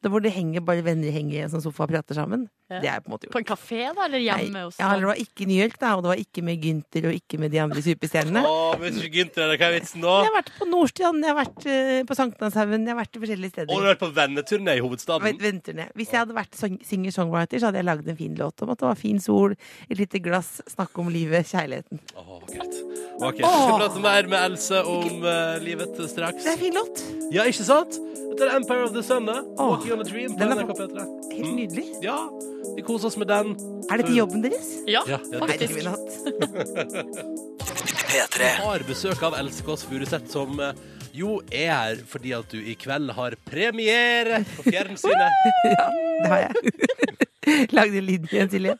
Det hvor det henger bare venner henger i en sånn sofa og prater sammen.
Ja.
Det er på en måte
På
gjort.
en kafé, da? Eller hjemme hos
ja, det var ikke i New York, da, og det var ikke med Gynter og ikke med de andre superstjernene.
Å, hvis ikke Gynter er der, hva er vitsen da?
Jeg har vært på Nordstrand, jeg har vært eh, på Sankthanshaugen, jeg har vært i
Og
forskjellige
du
steder.
har vært på venneturné i hovedstaden.
Vent- venter ned. Hvis jeg hadde vært song- singer-songwriter, så hadde jeg lagd en fin låt om at det var fin sol, et lite glass, snakke om livet, kjærligheten.
Åh, vakkert. Vakkert. Vi skal prate mer med Else om eh, livet straks.
Det er en fin låt.
Ja, ikke sant? Dette er Empire of the Sun, da. Walking on a Dream på
den er
NRK
bra.
P3.
Helt nydelig.
Ja, vi koser oss med den.
Er dette jobben deres?
Ja,
Ja, ja,
Nei, det er
faktisk.
min hatt.
P3
Har besøk av Else Kåss Furuseth, som eh, Jo, er her fordi at du i kveld har premiere på fjernsynet.
Det har jeg. Lagde lyden igjen, Silje.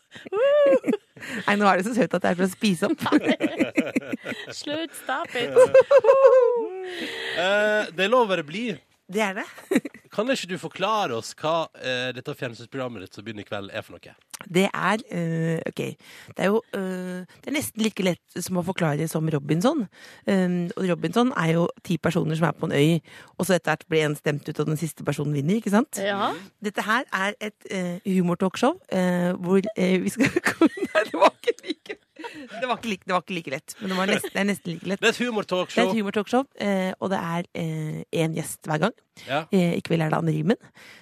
Nei, nå er det så søtt at det er for å spise opp.
Slutt, stop it.
Eh, det er lov å være blid.
Det er det.
Kan ikke du forklare oss hva eh, dette fjernsynsprogrammet ditt som begynner i kveld, er for noe?
Det er øh, Ok. Det er jo øh, Det er nesten like lett som å forklare som Robinson. Ehm, og Robinson er jo ti personer som er på en øy, og så etter hvert blir en stemt ut, og den siste personen vinner, ikke sant?
Ja.
Dette her er et uh, humortalkshow eh, hvor eh, vi skal Nei, det var ikke like Det var ikke like, det var ikke like lett, men det, var nesten, det er nesten like lett.
Det er et
Det er
humortalkshow.
et humortalkshow, eh, og det er én gjest hver gang.
Ja.
Eh, I kveld er det Anne Rimen,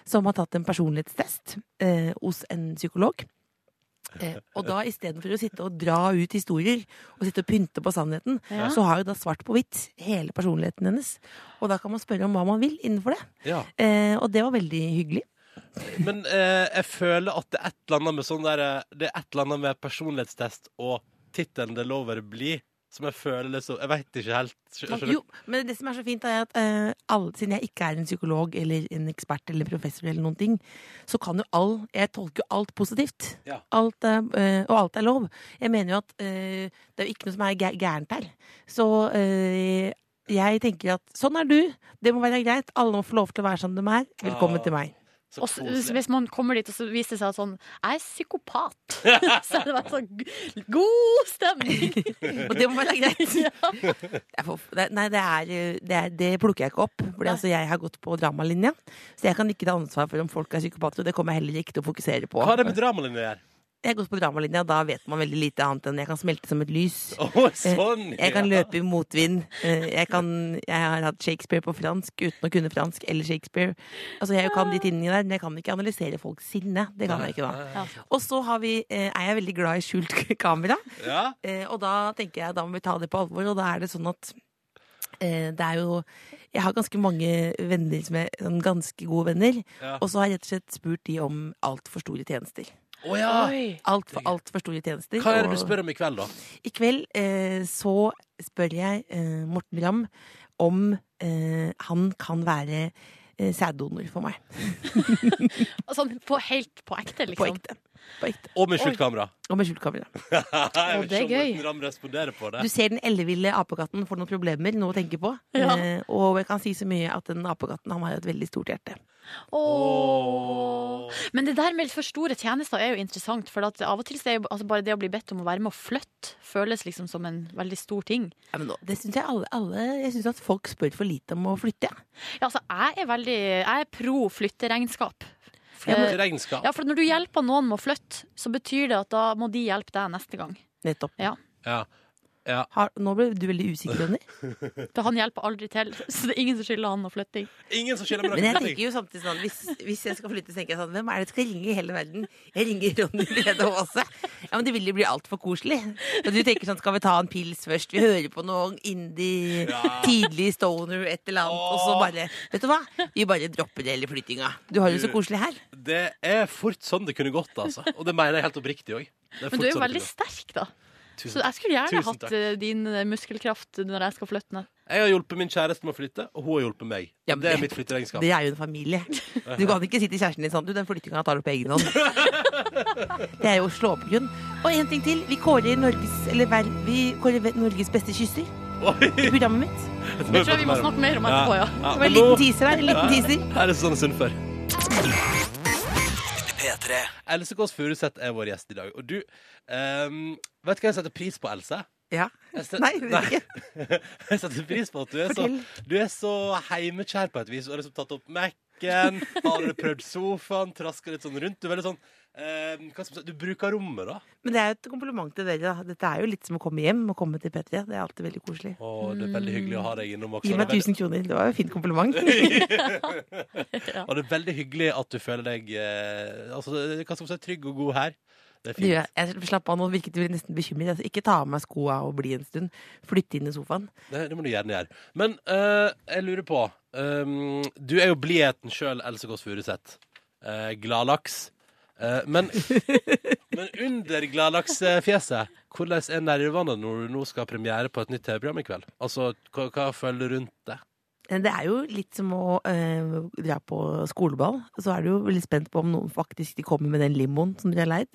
som har tatt en personlighetstest eh, hos en psykolog. Eh, og da istedenfor å sitte og dra ut historier og sitte og pynte på sannheten,
Ja.
så har jo da svart på hvitt hele personligheten hennes. Og da kan man spørre om hva man vil innenfor det.
Ja.
Eh, og det var veldig hyggelig.
Men eh, jeg føler at det er et eller annet med sånn der, eh, Det er et eller annet med personlighetstest og tittelen 'Det er lov å være blid' som jeg føler liksom Jeg veit ikke helt. skjø-
Man,
skjønner-
jo, men det som er så fint, er at eh, alle, siden jeg ikke er en psykolog eller en ekspert eller professor, eller noen ting, så kan jo all Jeg tolker jo alt positivt.
Ja.
Alt er, eh, og alt er lov. Jeg mener jo at eh, det er jo ikke noe som er gæ- gærent her. Så eh, jeg tenker at sånn er du, det må være greit. Alle må få lov til å være som de er. Velkommen
Ja.
til meg.
Så
Og så-
koselig.
hvis man kommer dit, og så viser det seg at sånn Jeg er psykopat. så er det bare sånn g- god stemning.
Og det må være greit. Jeg får, det- nei, det, er, eh, det, er, det plukker jeg ikke opp. Fordi
Nei.
altså, jeg har gått på dramalinja, så jeg kan ikke ta ansvar for om folk er psykopater. Og det kommer jeg heller ikke til å fokusere på.
Hva har det med dramalinja å gjøre?
Jeg har gått på dramalinja, og da vet man veldig lite annet enn jeg kan smelte som et lys.
Å,
Eh,
sånn!
Jeg kan
ja.
løpe i motvind. Eh, Jeg, kan, jeg har hatt Shakespeare på fransk uten å kunne fransk eller Shakespeare. Altså, jeg kan de tingene der, men jeg kan ikke analysere folks sinne. Det kan jeg ikke da. Og så har vi, eh, er jeg veldig glad i skjult kamera.
Ja.
Eh, og da tenker jeg da må vi ta det på alvor, og da er det sånn at eh, det er jo Jeg har ganske mange venner som er sånn ganske gode venner,
Ja.
og så har jeg rett og slett spurt de om altfor store tjenester.
Å ja!
Altfor alt for store tjenester.
Hva er det
og
du spør om i kveld, da?
I kveld eh, så spør jeg eh, Morten Ramm om eh, han kan være eh, sæddonor for meg.
Sånn på, helt på ekte, liksom.
På ekte. På ekte.
Og med skjult kamera.
Og med skjult kamera.
Jeg
Å,
vet
det er
ikke om
gøy.
Morten Ramm responderer på det.
Du ser den elleville apekatten får noen problemer, noe å tenke på.
Ja.
Eh, og jeg kan si så mye at den apekatten han har jo et veldig stort hjerte.
Åh. Men det der med for store tjenester er jo interessant. For at av og til så er jo altså bare det å bli bedt om å være med og flytte, føles liksom som en veldig stor ting.
Ja, men nå, det syns jeg alle, alle Jeg syns at folk spør for lite om å flytte. jeg.
Ja, altså, jeg er veldig Jeg er pro flytteregnskap.
Flytt regnskap.
Ja, for når du hjelper noen med å flytte, så betyr det at da må de hjelpe deg neste gang.
Nettopp.
Ja.
Har, nå ble du veldig usikker, Jonny.
For han hjelper aldri til, så det er ingen som skylder han noe flytting.
Ingen som skylder meg
Men jeg
noe.
tenker jo samtidig sånn hvis, hvis jeg skal flytte, så tenker jeg sånn Hvem er det jeg skal ringe i hele verden? Jeg ringer Ronny Brede Aase. Ja, men det vil jo bli altfor koselig. Og du tenker sånn Skal vi ta en pils først? Vi hører på noe indie, tidlig stoner, et eller annet. Og så bare Vet du hva? Vi bare dropper hele flyttinga. Du har det jo så koselig her.
Det er fort sånn det kunne gått, altså. Og det mener jeg helt oppriktig òg.
Men du er jo
sånn
veldig sterk, da. Så jeg skulle gjerne
Tusen
hatt
takk.
eh, din eh, muskelkraft når jeg skal flytte ned.
Jeg har hjulpet min kjæreste med å flytte, og hun har hjulpet meg.
Ja, men
det er
det-
mitt flytteregnskap.
Dere er jo en familie. Du kan ikke si til kjæresten din sånn Du, den flyttinga tar du på egen hånd. Det er jo å slå på grunn. Og en ting til. Vi kårer Norges, eller ver, vi kårer ve- Norges beste kysser i
Oi,
programmet mitt.
Det tror jeg vi må snakke mer om etterpå, ja.
Det
Ja,
var en
men nå
liten teaser her. En liten teaser.
sånn er det sånn sunt før.
P3.
Else Kåss Furuseth er vår gjest i dag. Og du ehm, Vet du hva jeg setter pris på, Else?
Ja.
Jeg altså- set-
Nei, det er ikke.
Jeg setter pris på at du er så,
Fortell.
du er så heimekjær på et vis. Du har liksom tatt opp Mac-en, har prøvd sofaen, traska litt sånn rundt. Du er veldig sånn ehm, hva skal man si, Du bruker rommet, da.
Men det er jo et kompliment til dere. da. Dette er jo litt som å komme hjem og komme til P3. Det er alltid veldig koselig.
Å, det er veldig hyggelig å ha deg innom også.
Gi meg
Det er veldig-
1000 kroner. Det var jo et fint kompliment.
Og det er veldig hyggelig at du føler deg eh, altså, hva skal man si, trygg og god her. Det er
Det
fint.
gjør jeg. Jeg slapp av nå, virket du nesten bekymret. Altså, ikke ta av meg skoa og bli en stund. Flytte inn i sofaen.
Det, det må du gjerne gjøre. Men eh, jeg lurer på ehm, Du er jo blidheten sjøl, Else Kåss Furuseth. Eh, Gladlaks. Eh, men, men under gladlaksfjeset, hvordan er nervene når du nå skal ha premiere på et nytt TV-program i kveld? Altså, hva, hva føler du rundt det?
Eh, Det er jo litt som å eh, dra på skoleball. Så er du jo veldig spent på om noen faktisk de kommer med den limoen som de har leid.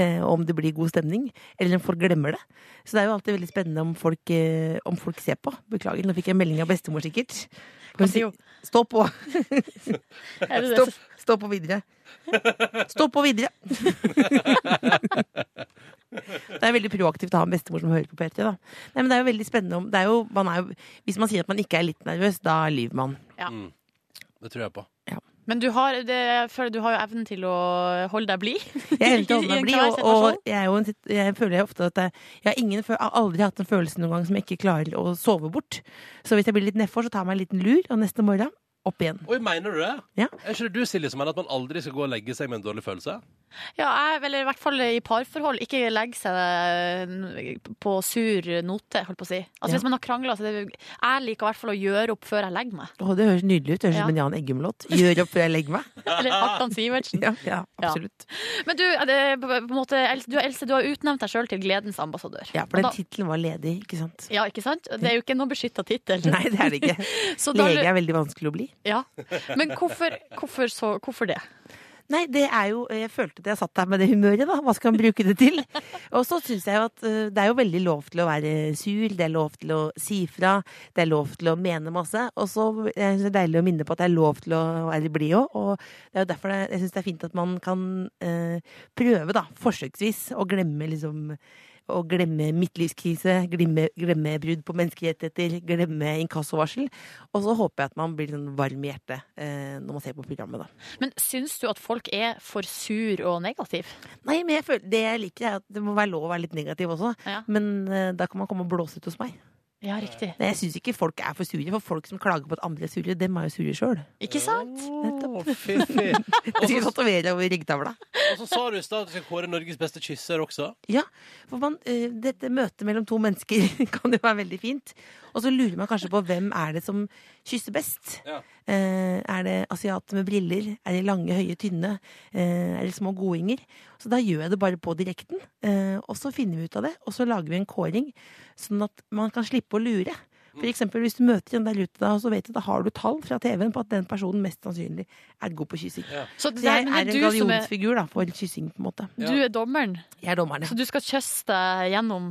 eh, og om det blir god stemning, eller om folk glemmer det. Så det er jo alltid veldig spennende om folk, eh, om folk ser på. Beklager, nå fikk jeg melding av bestemor, sikkert. Hun sier stå på!
Er det det
Stå,
som-
stå på videre. Stå på videre! Det er veldig proaktivt å ha en bestemor som hører på P3. da. Nei, men det er jo veldig spennende om, det er jo, man er jo, Hvis man sier at man ikke er litt nervøs, da lyver man.
Det tror jeg på.
Men du har, det, jeg føler du har jo evnen til å holde deg blid.
Jeg er helt
I en
overbevist,
klar
og, og jeg, er jo en, sit- jeg føler ofte at jeg, jeg har ingen, fø- har aldri hatt en følelse noen gang som jeg ikke klarer å sove bort. Så hvis jeg blir litt nedfor, så tar jeg meg en liten lur, og neste morgen opp igjen.
Oi, mener du det?
Ja.
Er ikke det du, Silje, som mener at man aldri skal gå og legge seg med en dårlig følelse?
Ja, jeg, eller i hvert fall i parforhold. Ikke legge seg eh, på sur note, holdt på å si. Altså
Ja.
Hvis man har krangla, så er det Jeg liker i hvert fall å gjøre opp før jeg legger meg.
Å, det høres nydelig ut. Det høres ut
Ja.
som en Jan Eggum-låt. Gjør opp før jeg legger meg.
Eller Hartan Sivertsen.
Ja, ja absolutt.
Men du, er det, på på en måte, Else, du, Else, du har utnevnt deg sjøl til gledens ambassadør.
Ja, for
Og
den
da-
tittelen var ledig, ikke sant?
ja, ikke sant? Det er jo ikke noen beskytta tittel.
Nei, det er det ikke.
Så da
Lege
lu-
er veldig vanskelig å bli.
Ja. Men hvorfor, hvorfor, så, hvorfor det?
Nei, det er jo Jeg følte at jeg satt der med det humøret, da. Hva skal man bruke det til? Og så syns jeg jo at eh, det er jo veldig lov til å være sur, det er lov til å si fra, det er lov til å mene masse. Og så er det så deilig å minne på at det er lov til å være blid òg. Og det er jo derfor det, jeg syns det er fint at man kan eh, prøve, da, forsøksvis, å glemme liksom å glemme midtlivskrise, glemme, glemme brudd på menneskerettigheter, glemme inkassovarsel. Og så håper jeg at man blir sånn varm i hjertet eh, når man ser på programmet, da.
Men syns du at folk er for sur og negativ?
Nei, men jeg føler, det jeg liker er at det må være lov å være litt negativ også.
Ja.
Men eh, da kan man komme og blåse ut hos meg.
Ja, riktig.
Nei, jeg syns ikke folk er for sure, for folk som klager på at andre er sure, dem er jo sure sjøl.
Ikke sant?
Å, fiffig.
Jeg skal tatovere over ryggtavla.
Og så sa du i stad at du skal kåre Norges beste kysser også.
Ja, for man, eh, dette møtet mellom to mennesker kan jo være veldig fint. Og så lurer man kanskje på hvem er det som kysser best.
Ja.
Eh, er det asiater med briller? Er de lange, høye, tynne? Eh, er det små godinger? Så da gjør jeg det bare på direkten. Eh, og så finner vi ut av det, og så lager vi en kåring, sånn at man kan slippe å lure. For eksempel hvis du møter en der ute, da, så vet du, da har du tall fra TV-en på at den personen mest sannsynlig er god på kyssing.
Ja.
Så,
Så
det,
jeg
men
er
det er
en
du som er,
gallionsfigur da, for kyssing, på en måte.
Ja.
du er dommeren,
Jeg er dommeren,
så
ja.
du skal kysse deg gjennom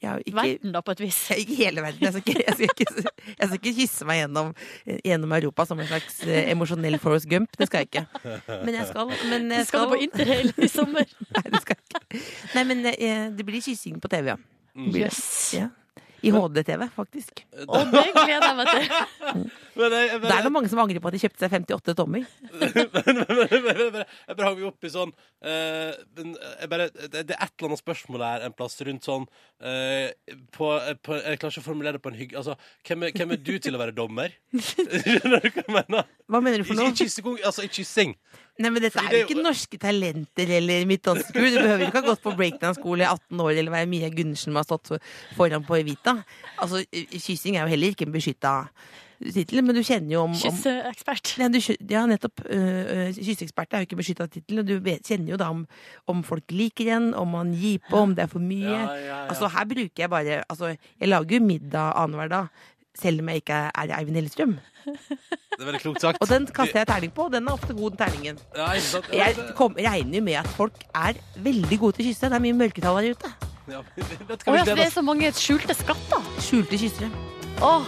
Jeg er jo ikke,
verden, da, på et vis.
Ja, Ikke hele verden. Jeg skal ikke, jeg skal ikke, jeg skal ikke kysse meg gjennom, gjennom Europa som en slags eh, emosjonell Forrest Gump. Det skal jeg ikke. Men jeg skal men jeg
Skal du på interrail i sommer?
Nei, det skal jeg ikke. Nei, men eh, det blir kyssing på TV, ja. Det blir det.
Jøss.
ja. I HD-TV, faktisk.
Og det gleder jeg meg til.
Men jeg, jeg,
Det er det mange som angrer på at de kjøpte seg 58 tommer.
men, men, men, men, men, jeg bare hang meg opp i sånn eh, men jeg bare, det, det er et eller annet spørsmål her en plass rundt sånn eh, på, på, Jeg klarer ikke å formulere det på en hygg... Altså, hvem, er- hvem er du til å være dommer? Skjønner du hva jeg mener?
Hva mener du
I,
for
i,
noe?
kyssing, altså, I kyssing.
Nei, men Dette
Fordi
er jo
det er
ikke norske talenter eller midtdanseskole. Du behøver ikke ha gått på breakdance-skole i 18 år eller være Mia Gundersen som har stått foran på Evita. Altså, Kyssing er jo heller ikke en beskytta tittel, men du kjenner jo om, om
Kysseekspert.
Nei, du, skjø- ja, nettopp. øh, øh, Kysseekspert er jo ikke beskytta tittel, og du vet, kjenner jo da om, om folk liker den, om man gir på, om det er for mye.
Ja, ja, ja.
Altså, her bruker jeg bare Altså, jeg lager jo middag annenhver dag, selv om jeg ikke er Eivind Hellstrøm.
Det er veldig klokt sagt.
Og den kaster jeg terning på, og den er ofte god, den terningen.
ja, ikke sant? Ja,
Jeg
det-
kom, regner jo med at folk er veldig gode til å kysse. Det er mye mørketall her ute.
ja, vet du
Å
hva vi
ja, så det er
deler?
så mange skjulte skatter.
Skjulte kyssere.
Åh,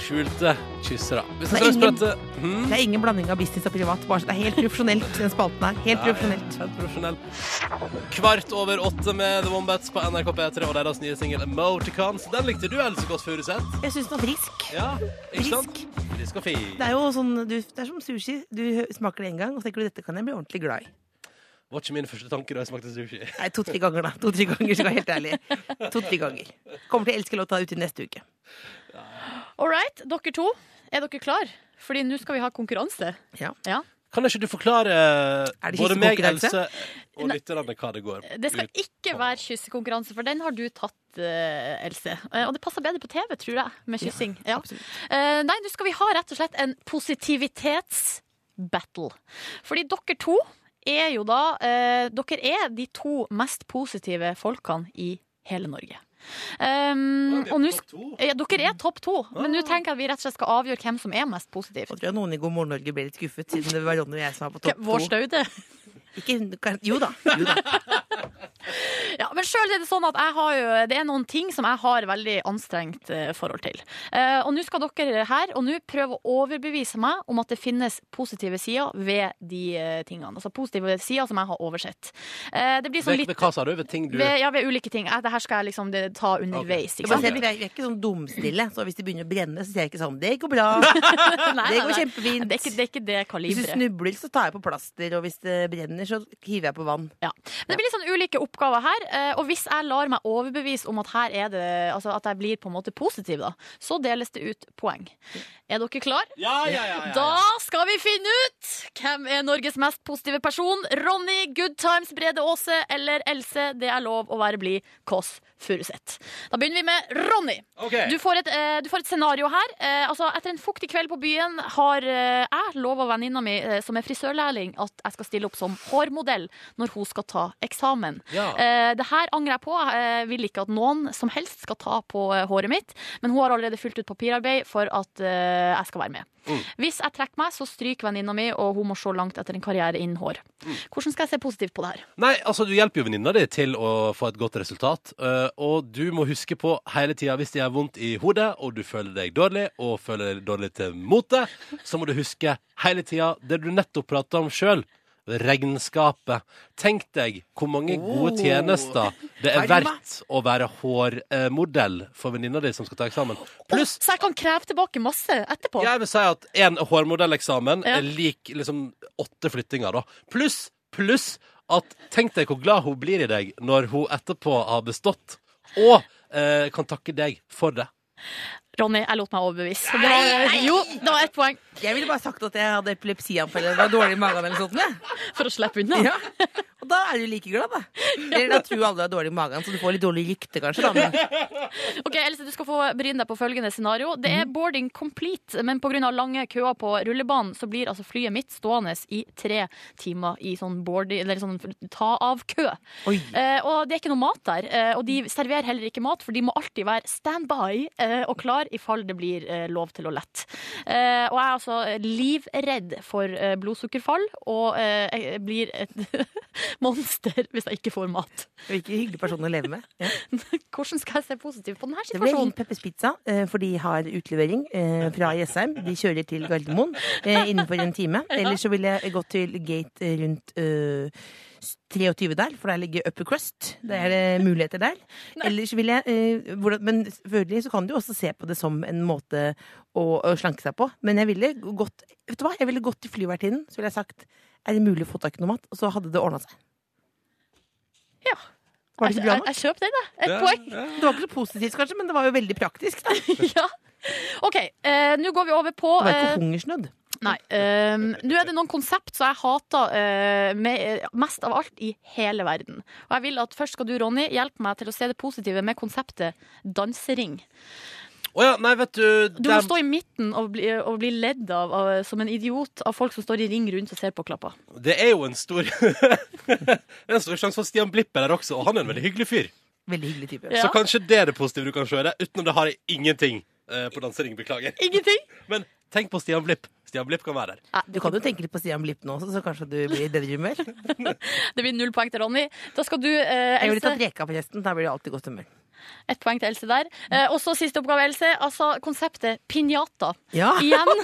Skjulte kyssere. Hvis
Det
jeg
er
skal
ingen-
prate hmm?
Det er ingen blanding av business og privat. Bare så det er helt profesjonelt, den spalten her. Helt profesjonelt.
Helt profesjonell. Kvart over åtte med The Wombats på NRK P3 og deres nye singel Emoticons. Den likte du, Else Kåss Furuseth.
Jeg syns den var frisk.
Ja, ikke sant?
Frisk.
Frisk og fin.
Det er jo sånn, du, det er som sushi. Du hø- smaker det én gang, og så tenker du dette kan jeg bli ordentlig glad i.
Var ikke min første tanke da jeg smakte sushi.
Nei, To-tre ganger, da. To-tre ganger, skal jeg være helt ærlig. To-tre ganger. Kommer til å elske låta uti neste uke.
All right, dere to. Er dere klar? Fordi nå skal vi ha konkurranse.
Ja.
Kan ikke du forklare
Er det
både meg,
kyssekonkurranse?
Else og lytterne hva det går
Det skal ikke være kyssekonkurranse, for den har du tatt, eh, Else. Eh, og det passer bedre på TV, tror jeg, med kyssing. Ja, Eh, nei, nå skal vi ha rett og slett en positivitetsbattle. Fordi dere to er jo da eh, Dere er de to mest positive folkene i hele Norge. Um, og nå sk-
to.
ja, dere er topp to, men
Ah.
nå tenker jeg at vi rett og slett skal avgjøre hvem som er mest positiv.
Og tror jeg noen i God morgen Norge ble litt skuffet, siden det var Ronny og jeg som var på topp
Vår
to.
staude.
Ikke, kan- jo da. Jo da.
Ja, men selv er det sånn at jeg har jo, det er noen ting som jeg har veldig anstrengt eh, forhold til. Eh, og nå skal dere her og nå prøve å overbevise meg om at det finnes positive sider ved de eh, tingene. Altså positive sider som jeg har oversett. Eh, det blir sånn
Ved,
litt
ved hva sa du? Ved ting du
ved, ja, ved ulike ting. Eh, Det her skal jeg liksom det, ta underveis.
Jeg
Ikke sant?
bare ser, vi, er, vi er ikke sånn dumstille, så hvis de begynner å brenne, så sier jeg ikke sånn Det går bra.
Nei, nei,
Det går
nei.
kjempefint.
Det er ikke det, er ikke det
Hvis du
kaliberet.
snubler, så tar jeg på plaster, og hvis det brenner, så hiver jeg på vann.
Ja. Men det blir litt sånn ulike oppgaver her, eh, og hvis jeg lar meg overbevise om at her er det Altså at jeg blir på en måte positiv, da, så deles det ut poeng. Er dere klar?
Ja, ja, ja, ja, ja.
Da skal vi finne ut hvem er Norges mest positive person. Ronny, Good Times, Brede Aase eller Else. Det er lov å være blid. Kåss Furuseth. Da begynner vi med Ronny.
Ok.
Du, får et, eh, du får et scenario her. Eh, altså, etter en fuktig kveld på byen har eh, jeg lova venninna mi, eh, som er frisørlærling, at jeg skal stille opp som hårmodell når hun skal ta eksamen.
Ja.
Eh, det her angrer jeg på. Jeg vil ikke at noen som helst skal ta på eh, håret mitt. Men hun har allerede fylt ut papirarbeid for at eh, jeg skal være med. Hvis jeg trekker meg, så stryker venninna mi, og hun må se langt etter en karriere innen hår. Hvordan skal jeg se positivt på det her?
Nei, altså du hjelper jo venninna di til å få et godt resultat. eh, og du må huske på hele tida hvis det gjør vondt i hodet, og du føler deg dårlig, og føler deg dårlig til motet, så må du huske hele tida det du nettopp prata om sjøl. Regnskapet. Tenk deg hvor mange gode tjenester det er
Velma.
verdt å være hårmodell for venninna di som skal ta eksamen. Pluss
Så jeg kan kreve tilbake masse etterpå?
Jeg vil si at en hårmodelleksamen
Ja.
er lik liksom åtte flyttinger, da. Pluss, pluss at tenk deg hvor glad hun blir i deg når hun etterpå har bestått, og eh, kan takke deg for det.
Ronny, jeg lot meg overbevise. Det var, jo, det var ett poeng
Jeg ville bare sagt at jeg hadde epilepsianfall eller var dårlig i magen eller sånt. jeg.
for å slippe unna.
Ja. Og da er du like glad, da. Eller da tror alle du er dårlig i magen, så du får litt dårlig rykte, kanskje. Da. Men
Ok, Else, du skal få bryne deg på følgende scenario. Det er boarding complete, men pga. lange køer på rullebanen så blir altså flyet mitt stående i tre timer i sånn boarding, eller sånn ta-av-kø.
Oi.
Eh, og det er ikke noe mat der, eh, og de serverer heller ikke mat, for de må alltid være standby eh, og klar i fall det blir eh, lov til å lette. Eh, og jeg er altså livredd for eh, blodsukkerfall, og eh, jeg blir et monster hvis jeg ikke får mat.
det er ikke en hyggelig person å leve med. Ja.
Hvordan skal jeg se positivt på denne
Det ble
situasjonen?
ringt Peppers Pizza, eh, for de har utlevering eh, fra Jessheim. De kjører til Gardermoen eh, innenfor en time. Ellers så ville jeg gått til gate eh, rundt eh, 23 der, for der ligger Upper Crust. Der er det muligheter der. Ellers vil jeg eh, hvordan, Men selvfølgelig så kan du jo også se på det som en måte å, å slanke seg på. Men jeg ville gått Vet du hva, jeg ville gått til flyvertinnen, så ville jeg sagt er det mulig å få tak i noe mat? Og så hadde det ordna seg.
Ja.
Var det
Jeg,
ikke bra
jeg,
nok?
jeg kjøper den, jeg. Et poeng.
Det var ikke så positivt, kanskje, men det var jo veldig praktisk. Da. Det
ja. OK, eh, nå går vi over på
var
eh,
ikke hungersnød.
Nei. eh, nå er det noen konsept som jeg hater eh, med, eh, mest av alt i hele verden. Og jeg vil at først skal du, Ronny, hjelpe meg til å se det positive med konseptet dansering.
Å ja, nei, vet du,
Du må
dem-
stå i midten og bli, eh, og bli ledd av, av som en idiot av folk som står i ring rundt og ser på klappa.
det er jo en stor Det er en stor sjanse for at Stian Blipp er der også, og han er en veldig hyggelig fyr.
Veldig hyggelig type.
Ja.
Så kanskje det er det positive du kan se i det. Utenom det har jeg ingenting eh, på dansering, beklager.
Ingenting!
Men tenk på Stian Blipp. Stian Blipp kan være der.
Nei,
Du kan jo tenke litt på Stian Blipp nå også, så kanskje du blir i bedre humør. Jeg
Det blir null poeng til Ronny. Da skal du, eh,
ville
Else
tatt reka på gjesten, da blir det alltid godt humør.
Ett poeng til Else der. Eh, og så siste oppgave, Else. Altså konseptet pinjata.
Ja.
Igjen.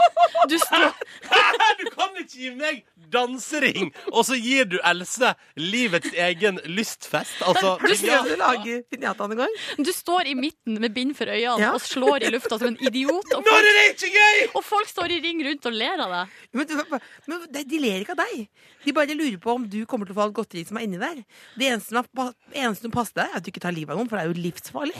Du står
Ah, Du kan ikke gi meg dansering, og så gir du Else livets egen lystfest. Altså,
Du skal jo lage pinjata en gang.
Du står i midten med bind for øynene
Ja.
og slår i lufta som en idiot. Og
Når
folk,
er det ikke gøy?!
og folk står i ring rundt og ler av deg.
Men, du- men de, de ler ikke av deg. De bare lurer på om du kommer til å få alt godteri som er inni der. Det eneste som er- eneste som passer deg, er at du ikke tar livet av noen, for det er jo livsfarlig.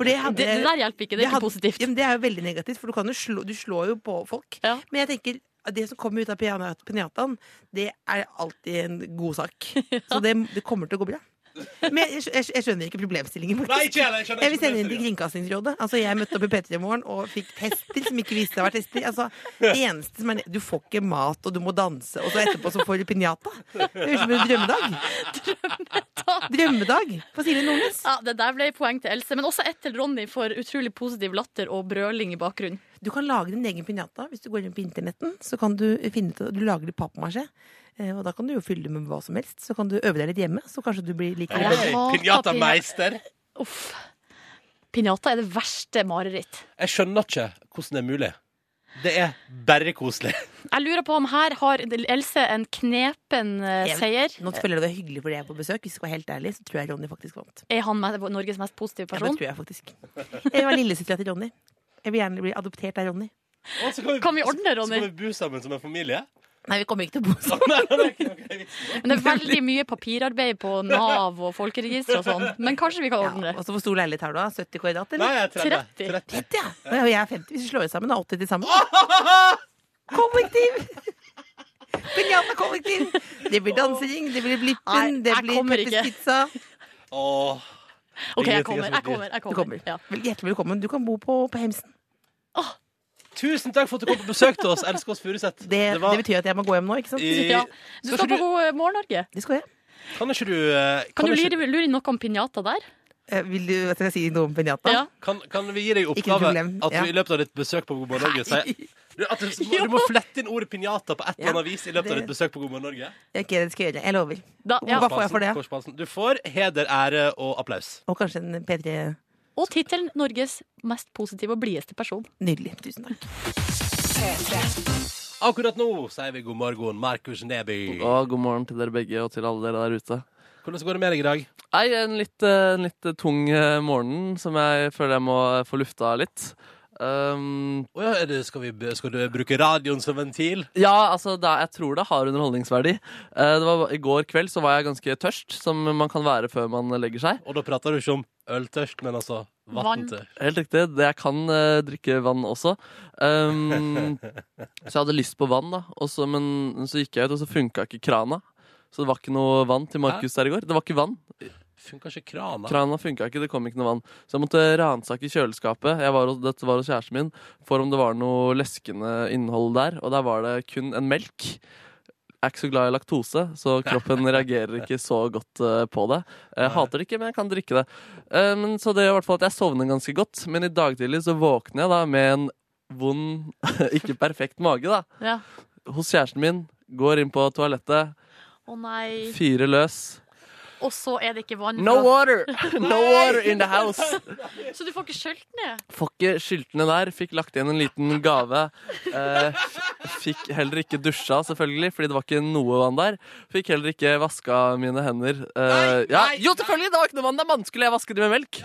For det, hadde-
Det,
Eh,
det der hjelper ikke. Det er ikke
hadde-
positivt.
Ja, men det er jo veldig negativt, for du, kan jo slå, du slår jo på folk.
Ja.
Men jeg tenker at det som kommer ut av piano- pinjataen, det er alltid en god sak. Så det, det kommer til å gå bra. Men jeg, jeg, jeg skjønner ikke problemstillingen. faktisk.
Nei, ikke heller. Jeg skjønner
Jeg vil
ikke
sende inn til Kringkastingsrådet. Altså, jeg møtte opp i P3 i morgen og fikk tester som ikke visste det var tester. Altså, det eneste som er Du får ikke mat, og du må danse, og så etterpå så får du pinjata. Det høres ut som en drømmedag.
sånn.
Drømmedag for Silje Nordnes.
Ja, det der ble poeng til Else, men også ett til Ronny for utrolig positiv latter og brøling i bakgrunnen.
Du kan lage din egen piñata. Hvis du går inn på internetten, så kan du finne ut Du lager litt pappmasjé. eh, Og da kan du jo fylle det med hva som helst. Så kan du øve deg litt hjemme, så kanskje du blir like
Nei,
god.
jeg hater
Pinjatameister.
Uff. Pinjata er det verste mareritt.
Jeg skjønner ikke hvordan det er mulig. Det er bare koselig.
Jeg lurer på om her har Else en knepen eh,
Jeg-
seier.
Nå føler jeg det er hyggelig fordi jeg er på besøk. Hvis jeg skal være helt ærlig, så tror jeg Ronny faktisk vant.
Er han me- Norges mest positive
Ja, det
person?
tror jeg faktisk. Jeg var lillesøstera til Ronny. Jeg vil gjerne bli adoptert av Ronny.
Og så kan vi,
Kan vi ordne,
Så kan
Ronny?
vi bo sammen som en familie.
Nei, vi kommer ikke til å bo sammen.
Nei, det er ikke noe vits.
Men det er veldig mye papirarbeid på Nav og folkeregister og sånn. Men kanskje vi kan ordne
Ja,
det.
og så hvor stor leilighet har du? da? 70 kvadrat,
Nei,
eller?
jeg er 30.
30.
30.
30, ja. Og jeg er 50. Hvis vi slår ut sammen, da er 80 til sammen. Kollektiv! Pinjata kollektiv. Det blir dansering, det blir blippen,
Nei,
det
jeg
blir
kommer ikke.
Peppers pizza.
Åh.
OK,
Ingenting
jeg
er
kommer.
som et
Jeg kommer. Jeg
Du
kommer.
kommer.
Ja.
Vel, Hjertelig velkommen. Du kan bo på, på Hemsen.
Tusen takk for at du kom på besøk til oss. Elsker oss Furuseth.
Det, det,
var-
betyr at jeg må gå hjem nå, ikke sant?
I-
Ja. Du skal på God eh, morgen, Norge.
Det skal jeg.
Kan ikke du eh,
Kan du
ikke-
lure, lure inn noe om pinjata der?
Eh, Vil du at jeg skal si noe om pinjata?
Ja.
Kan, kan vi gi deg i
Ikke
oppgave
problem,
at du
ja.
i løpet av ditt besøk på God morgen Norge sier du, at du,
Jo.
du må flette inn ordet pinjata på et eller annet
Ja,
vis i løpet av
det-
ditt besøk på God morgen Norge.
Ok, det skal jeg gjøre. Jeg lover.
Da, ja.
Hva får jeg for det?
Kors Paulsen, Du får heder, ære og applaus.
Og kanskje en P3
Og tittelen 'Norges mest positive og blideste person'.
Nydelig. Tusen takk.
Akkurat nå sier vi god morgen, Markus Neby.
Og god morgen til dere begge, og til alle dere der ute.
Hvordan går det med deg i dag?
Nei, en litt, eh, en litt tung eh, morgen som jeg føler jeg må eh, få lufta litt. Um,
Å ja, er det, skal, vi, b- skal du bruke radioen som ventil?
ja, altså, det, jeg tror det har underholdningsverdi. Eh, det var, I går kveld så var jeg ganske tørst, som man kan være før man legger seg.
Og da prater du ikke om øltørst, men altså
Vann.
vanntørst.
Helt riktig. Det jeg kan eh, drikke vann også. Um, så jeg hadde lyst på vann, da. Og så, men så gikk jeg ut, og så funka ikke krana. Så det var ikke noe vann til Markus der i går. Det var ikke vann.
Funker ikke krana?
Krana funka ikke, det kom ikke noe vann. Så jeg måtte ransake kjøleskapet. Jeg var hos, dette var hos kjæresten min for om det var noe leskende innhold der. Og der var det kun en melk. Jeg er ikke så glad i laktose, så kroppen reagerer ikke så godt eh, på det. Jeg hater det ikke, men jeg kan drikke det. Eh, men så det gjør i hvert fall at jeg sovner ganske godt. Men i dag tidlig så våkner jeg da med en vond, ikke perfekt mage, da.
Ja.
Hos kjæresten min. Går inn på toalettet,
Å nei.
fyrer løs.
Og så er det ikke vann.
No water! No water in the house!
Så du får ikke skjølt ned?
Får ikke skiltene der. Fikk lagt igjen en liten gave. Eh, f- fikk heller ikke dusja, selvfølgelig, fordi det var ikke noe vann der. Fikk heller ikke vaska mine hender. Eh, ja. Jo, selvfølgelig! Det var ikke noe vann der! Man skulle jeg vaske de med melk.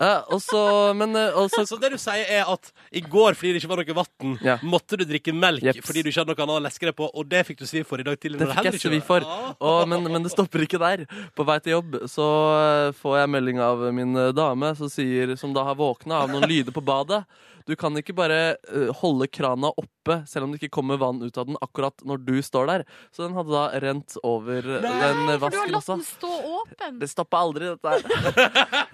Eh, og så, men eh, og så
Så det du sier er at i går fordi det ikke var noe vann,
Ja.
måtte du drikke melk
Jeps.
fordi du ikke hadde noe annet å leske deg på, og det fikk du svi for i dag tidlig.
Det
når
fikk jeg
heller
svi
ikke var.
for. Og, men, men det stopper ikke der. På vei til jobb så eh, får jeg melding av min eh, dame som, sier, som da har våkna av noen lyder på badet. Du kan ikke bare eh, holde krana oppe selv om det ikke kommer vann ut av den akkurat når du står der. Så den hadde da rent over eh,
For
den eh,
du har
vasken
latt
også.
den stå åpen.
Det stoppa aldri, dette her.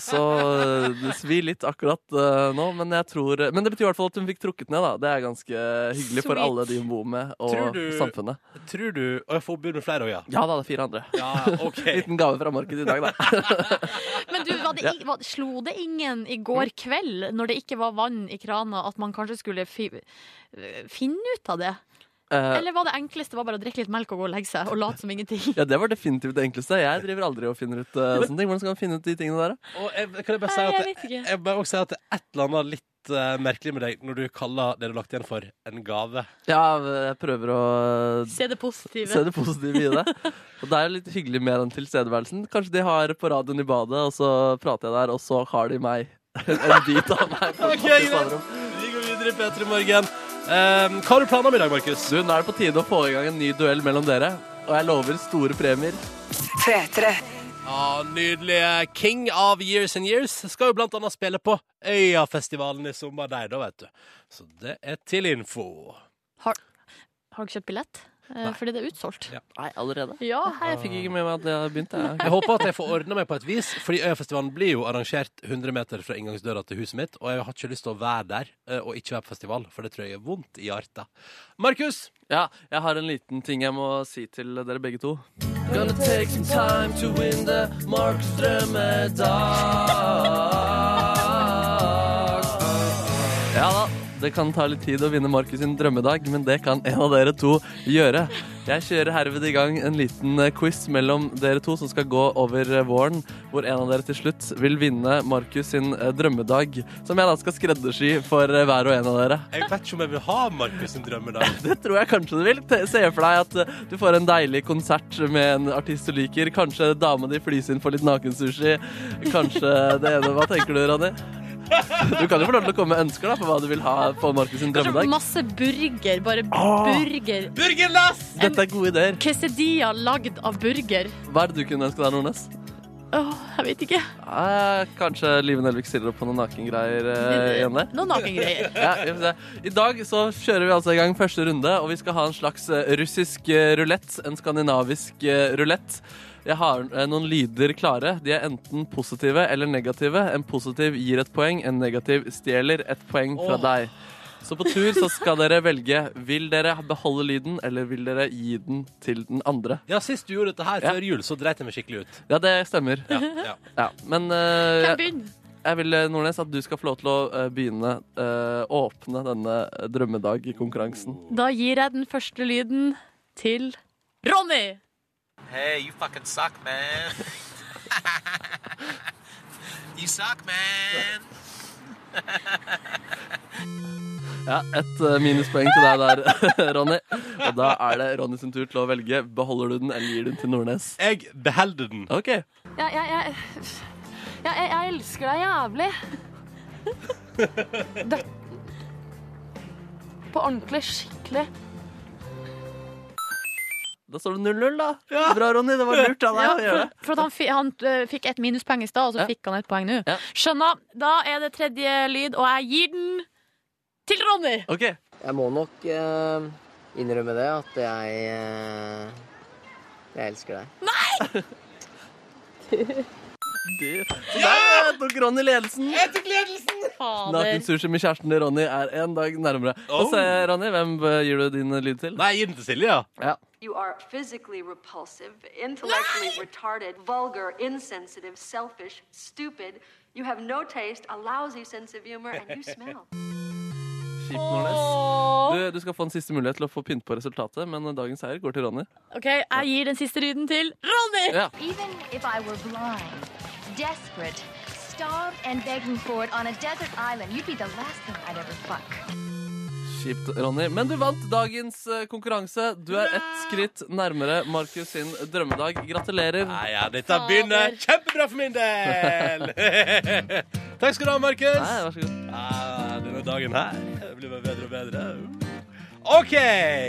Så eh, det svir litt akkurat eh, nå, men jeg tror Men det betyr i hvert fall at hun fikk trukket ned, da. Det er ganske hyggelig for
Sweet.
alle de hun bor med,
Tror
og
du-
samfunnet.
Tror du Å, jeg får bud med flere òg, ja.
Ja da, det er fire andre.
Ja, OK.
Liten gave fra Markus i dag, da.
Men du, var det, i- var, slo det ingen i går kveld, når det ikke var vann i krana, at man kanskje skulle fi, finne ut av det?
Eh,
Eller var det enkleste var bare å drikke litt melk og gå og legge seg og late som ingenting?
ja, det var definitivt det enkleste. Jeg driver aldri og finner ut eh, sånne ting. Hvordan skal man finne ut de tingene der, da?
Og jeg, kan jeg bare si
Nei,
at
jeg
det-
vet ikke.
Jeg må også si at det er et eller annet litt eh, merkelig med deg når du kaller det du har lagt igjen for en gave.
Ja, jeg prøver å eh,
Se det
se
positive.
det positive i det. Og det er jo litt hyggelig med den tilstedeværelsen. Kanskje de har på radioen i badet, og så prater jeg der, og så har de meg. en bit av meg. på
Ok,
badet i
greit.
soverommet.
Vi går videre i P3 Morgen. Um, hva har du planer om i dag, Markus?
Du, nå er det på tide å få i gang en ny duell mellom dere. Og jeg lover store premier.
P3.
Ja, Nydelige King of Years and Years skal jo blant annet spille på Øyafestivalen i sommer, de da, vet du. Så det er til info.
Har, har du kjøpt billett? eh, fordi det er utsolgt.
Ja.
Nei, allerede?
Ja.
Nei, jeg fikk ikke med meg at det hadde begynt. Jeg.
Jeg håper at jeg får ordna meg på et vis, fordi Øyafestivalen blir jo arrangert 100 meter fra inngangsdøra til huset mitt, og jeg har ikke lyst til å være der eh, og ikke være på festival, for det tror jeg er vondt i hjertet. Markus!
Ja, jeg har en liten ting jeg må si til dere begge to. Gonna take some time to win the Markus drømmedag. Ja da, det kan ta litt tid å vinne Markus sin drømmedag, men det kan en av dere to gjøre. Jeg kjører herved i gang en liten eh, quiz mellom dere to som skal gå over eh, våren, hvor en av dere til slutt vil vinne Markus sin eh, drømmedag, som jeg da skal skreddersy for eh, hver og en av dere.
Jeg vet ikke om jeg vil ha Markus sin drømmedag.
Det tror jeg kanskje du vil. Te- Se for deg at eh, du får en deilig konsert med en artist du liker. Kanskje dama di flys inn for litt nakensushi. Kanskje det ene. Hva tenker du, Ronny? Du kan jo få lov til å komme med ønsker da, på hva du vil ha på Markus sin
Kanskje
drømmedag.
masse burger. Bare
Ah.
burger.
Burgerlass!
Dette er gode ideer.
Quesadilla lagd av burger.
Hva er det du kunne ønske deg, Nordnes?
Åh, jeg vet ikke.
Eh, kanskje Live Nelvik stiller opp på noen nakengreier eh, igjen der?
Noen nakengreier.
Ja, vi får se. I dag så kjører vi altså i gang første runde, og vi skal ha en slags eh, russisk eh, rulett, en skandinavisk eh, rulett. Jeg har eh, noen lyder klare. De er enten positive eller negative. En positiv gir et poeng, en negativ stjeler et poeng fra
Åh.
deg. Så på tur så skal dere velge. Vil dere beholde lyden, eller vil dere gi den til den andre?
Ja, sist du gjorde dette her
Ja.
før jul, så dreit jeg meg skikkelig ut.
Ja, det stemmer.
Ja, ja.
Ja, men eh,
Hvem begynner?
jeg vil, eh, Nordnes, at du skal få lov til å eh, begynne eh, å åpne denne eh, drømmedag-konkurransen.
Da gir jeg den første lyden til Ronny.
Hey, you fucking suck, man. you suck, man.
Ja, ett eh, minuspoeng til deg der, Ronny. Og da er det Ronny sin tur til å velge. Beholder du den, eller gir du den til Nordnes?
Jeg beholder den.
OK.
Ja, jeg, jeg, ja, jeg, jeg elsker deg jævlig. Det, på ordentlig, skikkelig.
Da står det 0-0, da. Bra, Ronny. Det var lurt av deg å gjøre det.
For at han, fi- han eh, fikk ett minuspoeng i stad, og så
Ja.
fikk han ett poeng nå.
Ja.
Skjønner. Da er det tredje lyd, og jeg gir den til Ronny.
OK.
Jeg må nok eh, innrømme det, at jeg eh, Jeg elsker deg.
Du- Så Der eh, tok Ronny ledelsen.
Fader.
Nakensushi med kjæresten til Ronny er en dag nærmere. Og se, Ronny, hvem eh, gir du din lyd til?
Nei, gi den til Silje.
Ja.
You are physically repulsive, intellectually retarded, vulgar, insensitive, selfish, stupid. You have no taste, a lousy sense of humor, and you smell.
Kjipt, Nordnes. Du, du skal få en siste mulighet til å få pynt på resultatet, men eh, dagens seier går til Ronny.
OK, jeg gir den siste lyden til Ronny.
Ja.
Even if I were blind, desperate, starved, and begging for it on a desert island, you'd be the last thing I'd ever fuck.
Kjipt, Ronny. Men du vant dagens eh, konkurranse. Du er ett skritt nærmere Markus sin drømmedag. Gratulerer.
Nei, ja, dette begynner kjempebra for min del! Takk skal du ha, Markus.
Nei, vær så god.
Ja, denne dagen her det blir bare bedre og bedre. OK!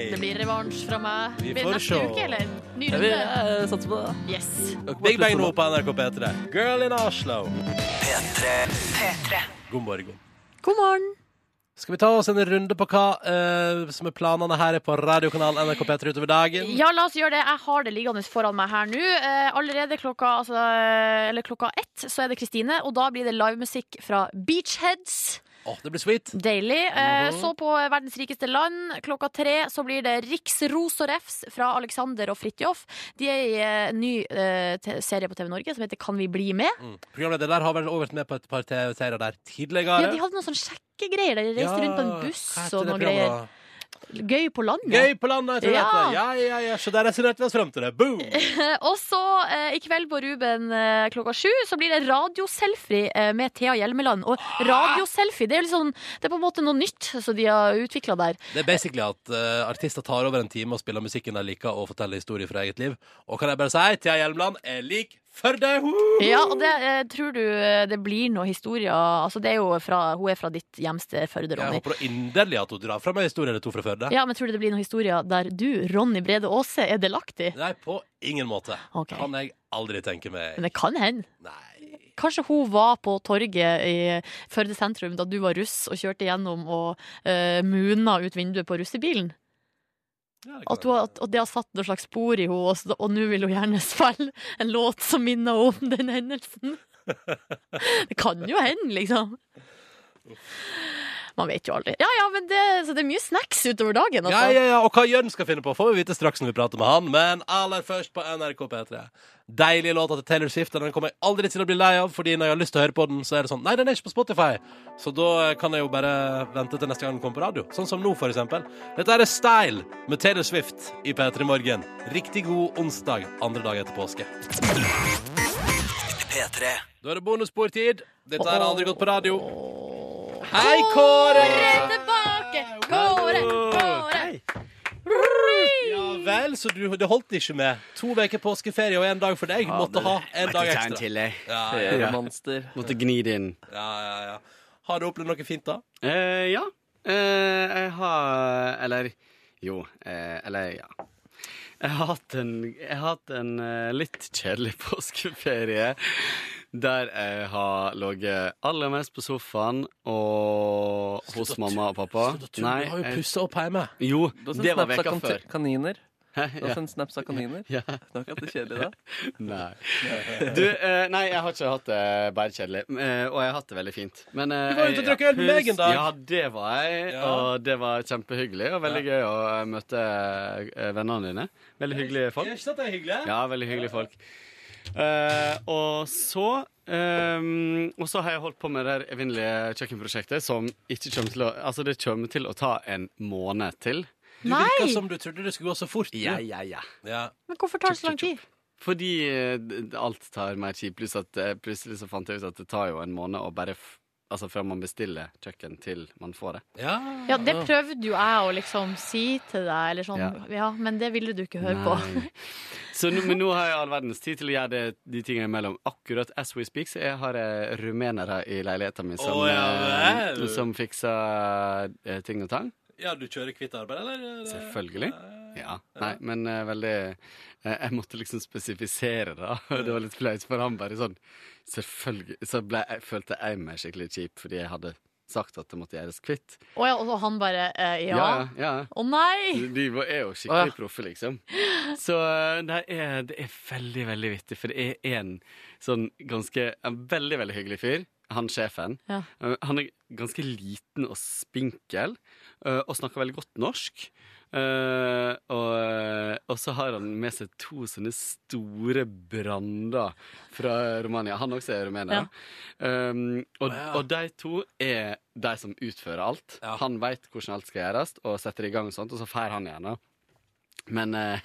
Det blir revansj fra meg.
Vi
Blir det
får
neste
se.
uke, eller? Ny
Jeg vil
runde.
eh, satse på det.
Yes.
da.
Big Bang nå på NRK P3. Girl in Oslo.
P3.
God morgen.
God morgen.
Skal vi ta oss en runde på hva eh, som er planene her på radiokanalen NRK P3 utover dagen?
Ja, la oss gjøre det. Jeg har det liggende foran meg her nå. Eh, allerede klokka, altså, eh, eller klokka ett så er det Kristine, og da blir det livemusikk fra Beachheads.
Åh, det blir sweet.
Deilig. Eh,
Mm-hmm.
Så på Verdens rikeste land klokka tre så blir det Riksros og refs fra Alexander og Fridtjof. De er i eh, en ny eh, te- serie på TV Norge som heter Kan vi bli med?
Mm. Programleder der har vel også vært med på et par TV-serier der tidligere.
Ja, de hadde noen sånne sjekkegreier. De reiste rundt på en buss
hva heter
og
det
noen greier.
programmet da?
Gøy på landet.
Gøy på landet, jeg tror
Ja.
jeg det heter. Ja, ja, ja. Så der resonnerte vi oss fram til det. Boom!
Og så eh, i kveld på Ruben eh, klokka sju så blir det radioselfie eh, med Thea Hjelmeland. Og radioselfie det er, jo litt sånn- det er på en måte noe nytt som de har utvikla der.
Det er basically at eh, artister tar over en time og spiller musikken de liker, og forteller historier fra eget liv. Og kan jeg bare si Thea Hjelmeland er lik for deg! Woo!
Ja, og det eh, tror du eh, det blir noen historier Altså det er jo fra, Hun er fra ditt hjemsted, Førde,
Jeg
Ronny.
håper da inderlig at hun drar fram en historie eller to fra Førde.
Ja, men tror du det blir noen historier der du, Ronny Brede Aase, er delaktig?
Nei, på ingen måte.
Ok.
Kan jeg aldri tenke meg.
Men det kan hende.
Nei.
Kanskje hun var på torget i Førde sentrum eh, da du var russ og kjørte gjennom og uh, muna ut vinduet på russebilen? At, hun, har- at, at det har satt noe slags spor i henne, og så- og nå vil hun gjerne spille en låt som minner om den hendelsen. Det kan jo hende, liksom. Man vet jo aldri. Ja, ja, men det, så det er mye snacks utover dagen.
Ja,
Altså.
ja, ja, Og hva Jørn skal finne på, får vi vite straks når vi prater med han. Men aller først på NRK P3. Deilige låta til Taylor Swift. og Den kommer jeg aldri til å bli lei av, Fordi når jeg har lyst til å høre på den, så er det sånn Nei, den er ikke på Spotify. Så da kan jeg jo bare vente til neste gang den kommer på radio. Sånn som nå, for eksempel. Dette er Style med Taylor Swift i P3 Morgen. Riktig god onsdag, andre dag etter påske.
P3.
Da er det bonusbordtid. Dette her har aldri gått på radio. Hei, Kåre!
Kåre tilbake! Kåre, Kåre!
Ja vel, så du, det holdt ikke med. To uker påskeferie og én dag for deg. Måtte ha en dag
Måtte ta en
ekstra.
til, jeg.
Ja, ja, ja.
Feriemonster.
Måtte gni det inn.
Ja, ja, ja. Har du opplevd noe fint, da?
Eh, ja. Eh, jeg har Eller jo. eh, eller ja. Jeg har hatt en, jeg har hatt en eh, litt kjedelig påskeferie der jeg har ligget aller mest på sofaen og altså, hos mamma og pappa.
Nei, du har jo
jeg-
pussa opp hjemme.
Jo,
Du har sendt
det var
snaps av
veka
kan-
før.
Kaniner.
Hæ?
Du har
Ja.
sendt snaps av kaniner.
Ja.
Det var ikke alltid kjedelig, da.
Nei. Du, eh, nei, jeg har ikke hatt det bare kjedelig. eh, og jeg har hatt det veldig fint. Men, eh,
Du var ute og
jeg-
drakk øl med
pus-
meg en dag.
Ja, det var jeg. Og det var kjempehyggelig. Og veldig gøy å eh, møte eh, vennene dine. Veldig hyggelige folk.
Ikke sant det er hyggelig?
Ja, veldig hyggelige folk. Eh, og så ehm, Og så har jeg holdt på med det her evinnelige kjøkkenprosjektet som ikke kommer til å Altså, det kommer til å ta en måned til.
Du virka som du trodde det skulle gå så fort. du.
Ja, ja, ja.
Ja.
Men hvorfor tar det så lang tid?
Fordi eh, d- d- alt tar mer tid, pluss at eh, plutselig så fant jeg ut at det tar jo en måned å bare f Altså før man bestiller kjøkken til man får det.
Ja, det prøvde jo jeg å liksom si til deg, eller sånn.
Ja.
Ja, men det ville du ikke høre på.
Nei. Så nå, men nå har jeg all verdens tid til å gjøre det, de tingene imellom. Akkurat as we speak, så jeg har eh, rumenere i leiligheten min som,
Å, ja
eh,
vel.
som fikser eh, ting og tang.
ja, du kjører kvitt arbeid, eller?
Selvfølgelig. Ja. Nei, men eh, veldig eh, Jeg måtte liksom spesifisere, da. Det var litt flaut, for han bare sånn Selvfølgelig. Så ble, jeg, følte jeg meg skikkelig kjip fordi jeg hadde sagt at det måtte gjøres kvitt.
Og, ja, og så han bare eh, ja. Å
Ja, ja, ja.
nei!
De de var- er jo skikkelig proffe, liksom. Så eh, det er, det er veldig, veldig vittig, for det er en sånn ganske en Veldig, veldig hyggelig fyr. Han sjefen.
Ja.
Eh, Han er ganske liten og spinkel, eh, og snakker veldig godt norsk. Eh, og, og så har han med seg to sånne store brander fra Romania. Han også er rumener. Um, og, og de to er de som utfører alt. Han veit hvordan alt skal gjøres, og setter i gang og sånt, og så får han gjerne. Men, eh,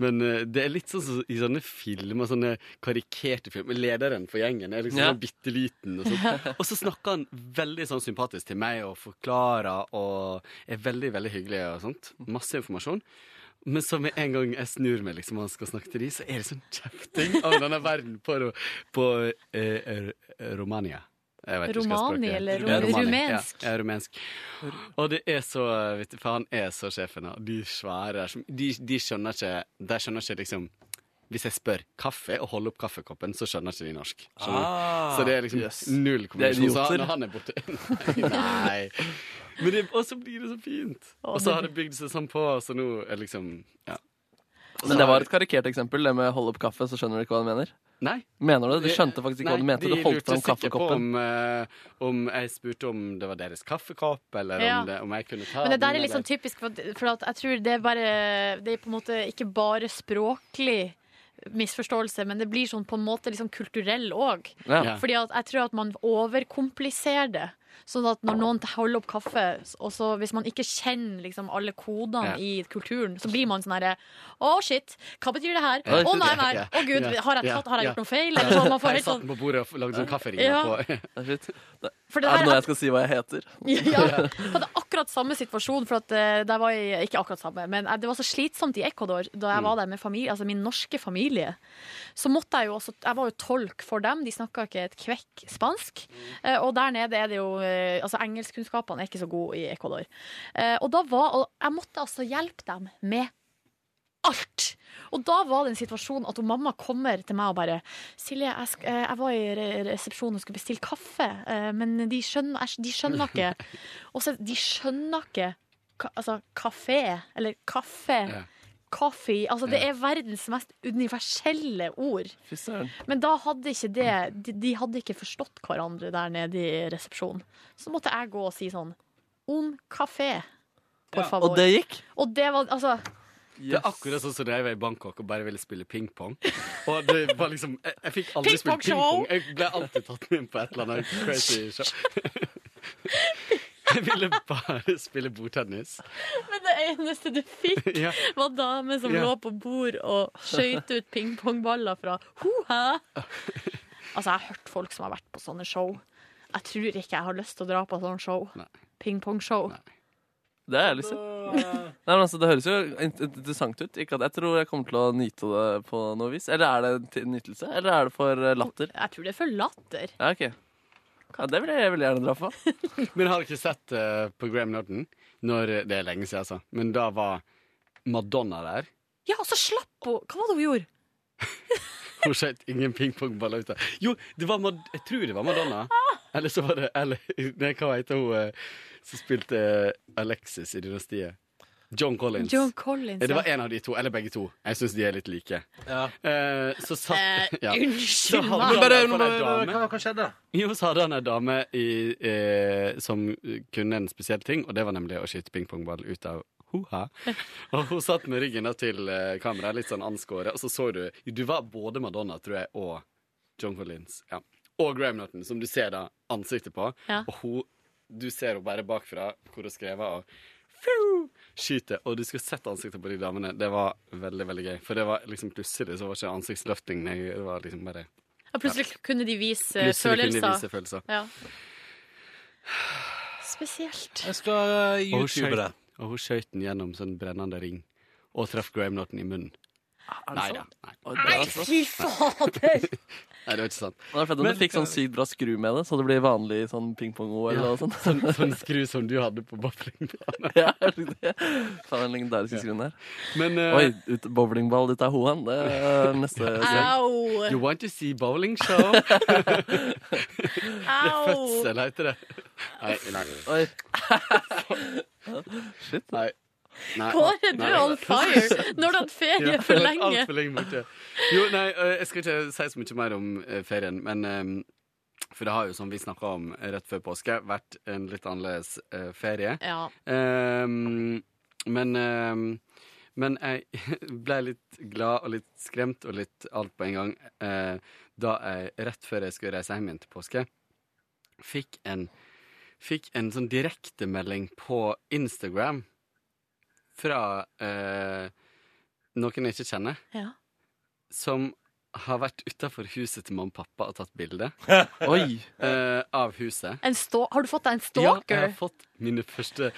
men eh, det er litt sånn som i sånne filmer, sånne karikerte filmer. Lederen for gjengen er liksom
Ja.
sånn bitte liten. Og, sånt. og så snakker han veldig sånn sympatisk til meg og forklarer og er veldig, veldig hyggelig og sånt. Masse informasjon. Men så med en gang jeg snur meg liksom, og han skal snakke til de, så er det sånn kjefting av denne verden på, ro- på eh, r- Romania. Jeg vet ikke hva
Romani,
språket er.
eller
Ja,
ru-
Romani.
rumensk?
Ja, ja, rumensk. Og det er så vet du, For han er så sjefen, og de svære som- de, de skjønner ikke De skjønner ikke liksom Hvis jeg spør kaffe og holder opp kaffekoppen, så skjønner ikke de norsk. Skjønner du?
Ah,
så det er liksom
yes.
Det er
null kommunikasjon. Så
idioter.
han, han er borte. Nei. Men det, og så blir det så fint.
Å,
Og
det
så har det bygd seg sånn på, så nå er det liksom Ja.
Men det var et karikert eksempel, det med holde opp kaffe, så skjønner du ikke hva han mener.
Nei.
Mener du det? Du skjønte faktisk ikke
Nei,
hva du mente. Du
de
holdt
lurte
fram
sikkert på
kaffekoppen.
Om, eh, om jeg spurte om det var deres kaffekopp, eller
Ja.
om, det, om jeg kunne ta
Men det der
den,
er litt sånn
eller-
typisk, for, at- for at jeg tror det er bare Det er på en måte ikke bare språklig misforståelse, men det blir sånn på en måte liksom kulturell òg.
Ja.
Fordi at jeg tror at man overkompliserer det. Sånn at når noen holder opp kaffe, og så hvis man ikke kjenner liksom alle kodene
Ja.
i kulturen, så blir man sånn herre Å, shit! Hva betyr det her? Å,
Ja.
nei, nei! Å,
Ja.
gud!
Ja.
Har jeg,
Ja.
tatt, har jeg
Ja.
gjort noe feil? Eller så man får
Jeg
helt
satt
sånn
den på bordet og lagde sånn kafferinger
Ja.
på
Det er shit. Det
For
er
det
det
der-
noe jeg skal si hva jeg heter?
ja, jeg hadde akkurat samme situasjon, for at eh, der var jeg, ikke akkurat samme, men eh, det var så slitsomt i Ecuador da jeg var der med familie, altså min norske familie. Så måtte jeg jo også, jeg var jo tolk for dem, de snakka ikke et kvekk spansk. Eh, Og der nede er det jo eh, Altså, engelskkunnskapene er ikke så gode i Ecuador. Eh, Og da var og Jeg måtte altså hjelpe dem med alt. Og da var det en situasjon at hun mamma kommer til meg og bare 'Silje, jeg, sk eh, jeg var i re resepsjonen og skulle bestille kaffe, eh, men de skjønner, jeg, skj- de skjønner ikke.' Og så de skjønner ikke ka, altså, kafé, eller kaffe.
Ja.
Coffee. Altså, det
Ja.
er verdens mest universelle ord.
Fy søren.
Men da hadde ikke det de, de hadde ikke forstått hverandre der nede i resepsjonen. Så måtte jeg gå og si sånn Un café, por favor.
Og det gikk?
Og det var altså
Det er akkurat sånn som da jeg var i Bangkok og bare ville spille pingpong. Og det var liksom Jeg, jeg fikk aldri spille
Pingpongshow!
pingpong. Jeg ble alltid tatt med på et eller annet crazy show. Jeg ville bare spille bordtennis.
Men det eneste du fikk,
Ja.
var damer som
Ja.
lå på bord og skøyt ut pingpongballer fra ho-hæ. Altså, jeg har hørt folk som har vært på sånne show. Jeg tror ikke jeg har lyst til å dra på sånne show. Pingpongshow.
Det er jeg lyst til. Nei, men altså, det høres jo int- interessant ut. Ikke at jeg tror jeg kommer til å nyte det på noe vis. Eller er det til nytelse? Eller er det for eh, latter?
Jeg tror det er for latter.
Ja, ok. Ja, det vil jeg veldig gjerne dra på.
Men har dere sett eh, på Graham Norton? Når, det er lenge siden, altså. Men da var Madonna der.
Ja, og så slapp hun Hva var det hun gjorde?
Hun skjøt ingen pingpongballer ut av Jo, det var Mad jeg tror det var Madonna. Eller så var det eller, Nei, hva heter hun eh, som spilte eh, Alexis i Dynastiet? John Collins.
John Collins,
Eh, Det var
ja.
en av de to, eller begge to. Jeg syns de er litt like. Eh, så
Eh,
satt ja.
unnskyld
Så
meg.
hadde
Men
han
bare-
i hvert fall en
men- men-
dame-
Hva skjedde?
Jo, så hadde han ei dame i, eh, som kunne en spesiell ting, og det var nemlig å skyte pingpongball ut av hoha. Og hun satt med ryggen da til eh, kameraet, litt sånn anskåret, og så så du Du var både Madonna, tror jeg, og John Collins. Ja. Og Graham Norton, som du ser da ansiktet på.
Ja.
Og hun Du ser henne bare bakfra, hvor hun skrev av. Fiu! Skyter, og du skulle sett ansiktet på de damene. Det var veldig veldig gøy. For det var liksom plutselig så var ikke ansiktsløfting nei, Det var liksom bare
Ja, plutselig kunne de vise eh,
Plutselig kunne de
følelser.
vise følelser.
Ja. Spesielt.
Jeg skal
Og hun
youtube det.
skjøt- Og hun skjøt den gjennom sånn brennende ring og traff Graham Norton i munnen. Nei da. Nei.
Nei, fy
fader!
Nei, det var ikke sant.
Det er fett om
Men-
du fikk sånn sykt bra skru med det, så det blir vanlig sånn pingpong-OL
Ja,
og sånn.
sånn, sånn skru som du hadde på bowlingbanen.
ja, jeg likte det. Faen, den legendariske skruen der.
Men, eh,
Oi, ut, bowlingball ut av hoen. Det er neste
Au!
You want to see bowling show? det er
Au!
fødsel, heter det. Nei, nei.
Oi.
Shit. Nei. Nei.
Kåre, du
Nei.
er on fire! Når du har hatt ferie
Ja,
for
alt
lenge.
for lenge borte. Jo, nei, eh, jeg skal ikke si så mye mer om eh, ferien, men eh, For det har jo, som vi snakka om rett før påske, vært en litt annerledes eh, ferie.
Ja.
Eh, men eh, men jeg ble litt glad og litt skremt og litt alt på en gang eh, da jeg, rett før jeg skulle reise hjem igjen til påske, fikk en, fikk en sånn direktemelding på Instagram fra eh, noen jeg ikke kjenner,
Ja.
som har vært utafor huset til mamma og pappa og tatt bilde
Oi.
eh, av huset.
En stå har du fått deg en
Ja, jeg
stalker?
har fått mine første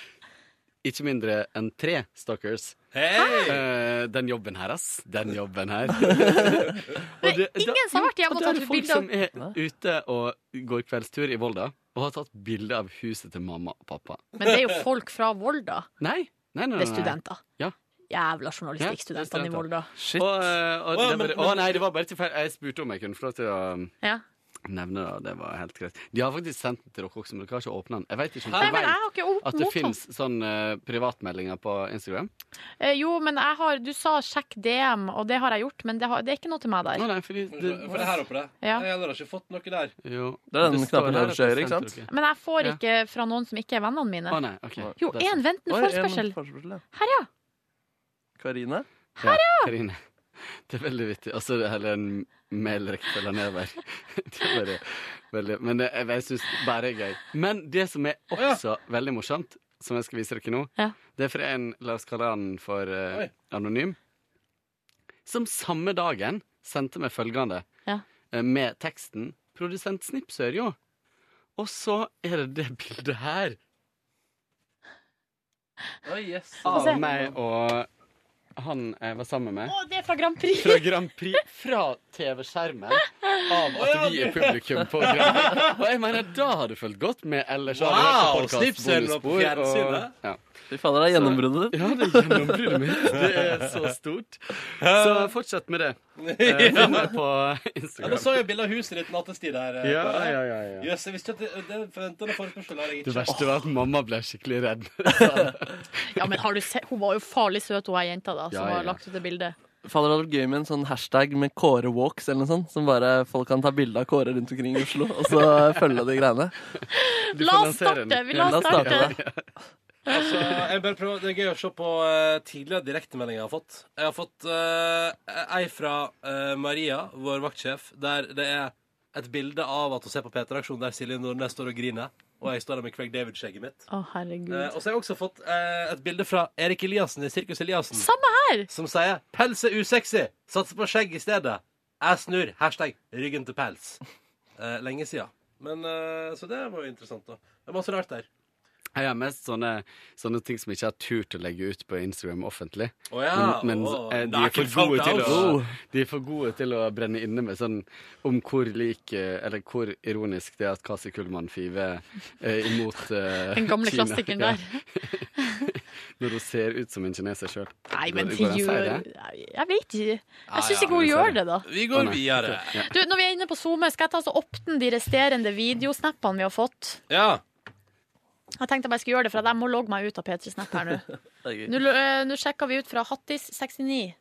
ikke mindre enn tre stalkers. Eh, den jobben her, ass. Den jobben her. Og det-
ingen
da-
som har vært hjemme
jo,
og
da er
tatt
det folk
bilder av-
som er ute og går kveldstur i Volda og har tatt bilde av huset til mamma og pappa.
Men det er jo folk fra Volda.
Nei, nei, nei, nei.
Det er studenter.
Ja.
Jævla
Ja, det er
journalistikkstudentene i
studenter.
Volda.
Og, eh, og
Å,
det bare,
men-
å nei, det var bare tilfeldig. Jeg spurte om jeg kunne få lov til å um,
Ja.
nevne det, og det var helt greit. De har faktisk sendt den til dere også, men dere har ikke åpna den. Jeg vet ikke om
Nei,
dere
men jeg
vet
har ikke åpnet
at det
den.
fins sånn eh, privatmeldinger på Instagram.
Eh, jo, men jeg har Du sa sjekk DM, og det har jeg gjort, men det, har, det er ikke noe til meg der.
Nei, nei, fordi
For det her oppe, det.
Ja.
Jeg har ikke fått noe der.
Jo.
Det er den
står
knappen
her
øverst til
at
høyre,
jeg
ikke
sendte
sant?
dere.
Men jeg får
Ja.
ikke fra noen som ikke er vennene mine.
Å nei, ok.
Jo,
Det er
en
sant.
ventende
Oi, en
forespørsel. Her, ja.
Karine?
Her, ja.
Karine. Det er veldig vittig. Altså, hele en mailrekkefølge nedover. Det er bare, veldig, men det, jeg, jeg syns bare det er gøy. Men det som er også veldig morsomt, som jeg skal vise dere nå,
Ja.
det er fra en La oss kalle han for eh, anonym, som samme dagen sendte meg følgende
Ja.
eh, med teksten 'Produsent Snipsør', jo. Og så er det det bildet her.
Få
Av
se.
meg og han jeg var sammen med.
Å, det er fra Grand Prix!
Fra Grand Prix, fra TV-skjermen. av at vi er publikum på programmet. Og jeg mener, da har du følt godt med ellers har du hørt på
Wow,
podcast,
snipsen og
bonusspor
fjernsynet.
ja.
Fy fader, det er gjennombruddet ditt.
Ja, det er gjennombruddet mitt. Det er så stort. Så fortsett med det. Eh, Finn meg på
Ja,
Instagram.
nå så jeg bilde av huset ditt nattestid her. eh,
Ja,
Kåre.
ja, ja, ja.
Jøss, jeg visste ikke at det, det forventede forespørselen har jeg
Det
ikke.
verste var at mamma ble skikkelig redd.
Ja, men har du sett? Hun var jo farlig søt, hun her jenta da, som
Ja, ja,
har
ja.
lagt ut det bildet.
Fader, det hadde vært gøy med en sånn hashtag med Kåre Walks eller noe sånt. Som bare folk kan ta bilde av Kåre rundt omkring i Oslo, og så følge de greiene.
Du La får oss lansere den. starte, vi la oss starte.
Altså, jeg bare prøver, det er gøy å se på eh, tidligere direktemeldinger jeg har fått. Jeg har fått eh, ei fra eh, Maria, vår vaktsjef, der det er et bilde av at hun ser på P3-aksjonen der Silje Nordnes står og griner, og jeg står der med Craig David-skjegget mitt.
Å, herregud.
Eh, og så har jeg også fått eh, et bilde fra Erik Eliassen i Sirkus Eliassen.
Samme her!
Som sier 'pels er usexy, satser på skjegg i stedet'. Jeg snur. Hashtag 'ryggen til pels'. Eh, lenge siden. Men, eh, så det var jo interessant, da. Det var masse rart der.
Jeg har mest sånne, sånne ting som jeg ikke har turt å legge ut på Instagram offentlig.
Å ja,
men men
å,
eh, de, er for
nakenfoto
gode til å,
også.
de er for gode til å brenne inne med sånn om hvor lik eh, Eller hvor ironisk det er at Kasi Kullmann fiver eh, imot eh,
Den gamle
Kina.
klassikeren
Ja.
der.
Når hun ser ut som en kineser sjøl.
Nei, men gjør Jeg vet ikke. Jeg syns
ja,
ikke hun
vi ser
gjør
det.
det, da.
Vi går videre.
Du, når vi er inne på SoMe, skal jeg ta så åpne de resterende videosnappene vi har fått?
Ja.
Jeg tenkte jeg bare skulle gjøre det, for at jeg må logge meg ut av P3-snap her nå. Nå
Null.
lo- eh, Nå sjekka vi ut fra Hattis69.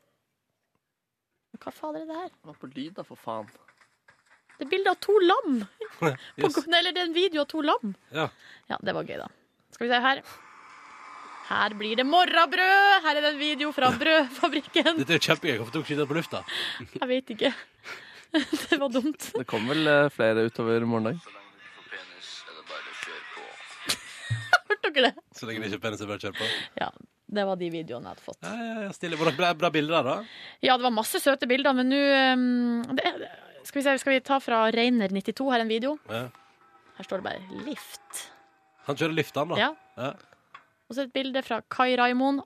Hva fader er det her?
Var på lyd, da, for faen.
Det er bilde av to lam! På,
Yes.
Nei, Eller det er en video av to lam.
Ja.
Ja, det var gøy, da. Skal vi se her. Her blir det morrabrød! Her er det en video fra brødfabrikken.
Dette er jo kjempegøy. Hvorfor tok ikke det på lufta?
Jeg vet ikke. Det var dumt.
Det kom vel eh, flere utover morgendag.
Hørte dere det?
Så lenge det ikke er penis jeg bare kjører på.
Ja, det var de videoene jeg hadde fått.
Ja, ja, ja, stille. Var det bra, bra bilder der, da?
Ja, det var masse søte bilder, men nå ehm, det er- skal, vi se, skal vi ta fra Reiner92 her en video?
Ja.
Her står det bare 'lift'.
Han kjører liftene, da.
Ja.
Ja.
Og så et bilde fra Kai Raimond.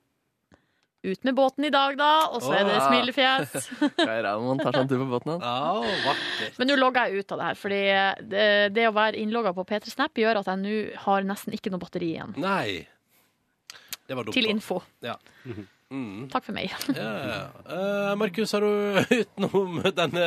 Ut med båten i dag, da! Og så er det
Åh.
smilefjes.
Kai Raymond tar seg en tur på båten,
han.
Men nå logger jeg ut av det her, fordi det, det å være innlogga på P3 Snap gjør at jeg nå har nesten ikke noe batteri igjen.
Nei. Det var dumt.
Til
da.
info.
Ja.
Mhm.
Mm.
Takk for meg.
Ja. Eh, Markus, har du utenom denne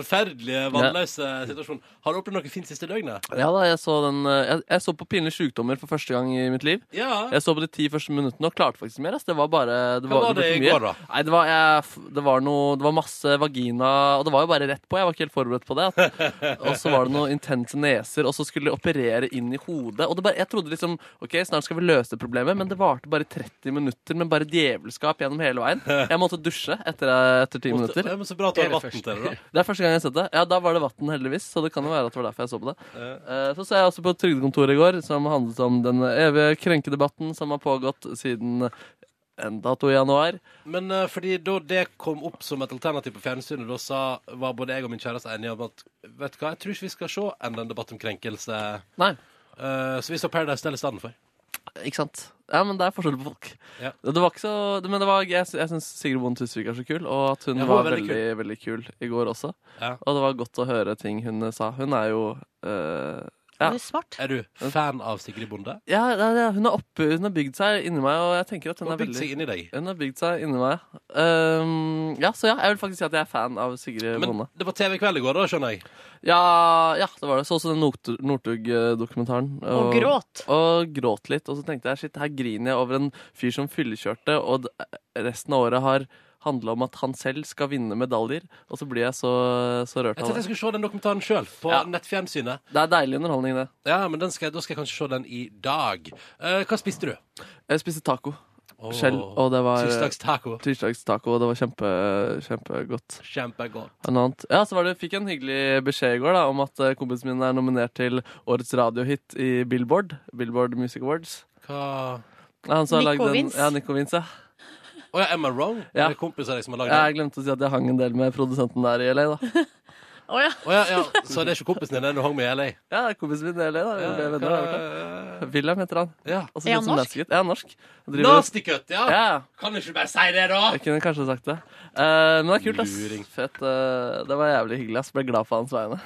forferdelige, vannløse situasjonen, har du opplevd noe fint siste døgnet?
Ja da, jeg så, den, eh, jeg, jeg så på pinlige sjukdommer for første gang i mitt liv.
Ja.
Jeg så på de ti første minuttene og klarte faktisk mer. ass. Det var bare det
Hva var
ble
det
for
i
mye.
går, da?
Nei, det var, jeg, f- det var noe Det var masse vagina Og det var jo bare rett på. Jeg var ikke helt forberedt på det. at- Og så var det noen intense neser, og så skulle de operere inn i hodet. Og det bare, jeg trodde liksom OK, snart skal vi løse problemet, men det varte bare 30 minutter med bare djevelskap gjennom hele veien. Jeg måtte dusje etter, etter 10
Måtte-
minutter.
Ja, men så bra at du har vann til det, da.
Det er første gang jeg har sett det. Ja, da var det vann, heldigvis. Så det kan jo være at det var derfor jeg så på det. Eh, Så så jeg også på Trygdekontoret i går, som handlet om den evige krenkedebatten som har pågått siden en dato i januar.
Men eh, fordi da det kom opp som et alternativ på fjernsynet, da sa, var både jeg og min kjæreste enige om at vet du hva, jeg tror ikke vi skal se enda en debatt om krenkelse. Eh,
Nei.
så vi så Paradise Hotel i stedet for.
Ikke sant? Ja, men det er forskjell på folk.
Ja.
Det var ikke så, men det var, jeg, sy- jeg syns Sigrid Bonde Tusvik er så kul, og at hun
Ja, hun
var
er veldig
veldig, veldig kul i går også.
Ja.
Og det var godt å høre ting hun sa. Hun er jo eh, ja.
Hun er smart.
Er du fan av Sigrid Bonde?
Ja, ja, ja, hun, har oppe, hun har bygd seg inni meg, og jeg tenker at hun,
Hun har
er
bygd
veldig
seg inni deg.
Hun har bygd seg inni meg. Ehm, ja, så ja, jeg vil faktisk si at jeg er fan av Sigrid
Men
Bonde.
det var TV-kveld i går, da, skjønner jeg.
Ja, ja, det var det. Så også den Nort- Northug-dokumentaren.
Og gråt.
Og gråt litt. Og så tenkte jeg shit, her griner jeg over en fyr som fyllekjørte, og d- resten av året har handla om at han selv skal vinne medaljer. Og så blir jeg så, så rørt
Jeg
av
tenkte jeg
det.
skulle se den dokumentaren sjøl, på
Ja.
nettfjernsynet.
Det er deilig underholdning, det.
Ja, men den skal, jeg- da skal jeg kanskje se den i dag. Eh, hva spiste du?
Jeg spiste taco. Skjell. Og det var
Tirsdagstaco.
Tirsdagstaco, og det var kjempe, kjempegodt.
Kjempegodt.
Og noe annet. Ja, så var det, fikk jeg en hyggelig beskjed i går da, om at eh, kompisen min er nominert til årets radiohit i Billboard. Billboard Music Awards.
Hva
Ja, han som har
Nico
lagd en-
Vince.
Ja, Nico Vince, ja.
Å ja, Am I Wrong? Det er kompiser av deg som har lagd
Jeg glemte å si at jeg hang en del med produsenten der i LA, da.
Å ja.
Å ja, ja. Så det er ikke kompisen din den du hang med i LA?
Ja, det er kompisen min i LA. Da. Vi ble venner der borte. Wilhelm heter han.
Ja. Ah!
Også
Er
kjent
han
som
norsk?
Nasty Cut. Ja, norsk. Han driver-
Nasty cut, ja.
Ja.
Kan du ikke bare si det, da?
Jeg kunne kanskje sagt det. Eh, men det er kult, ass. Fett, eh, det var jævlig hyggelig, ass. Ble glad på hans vegne.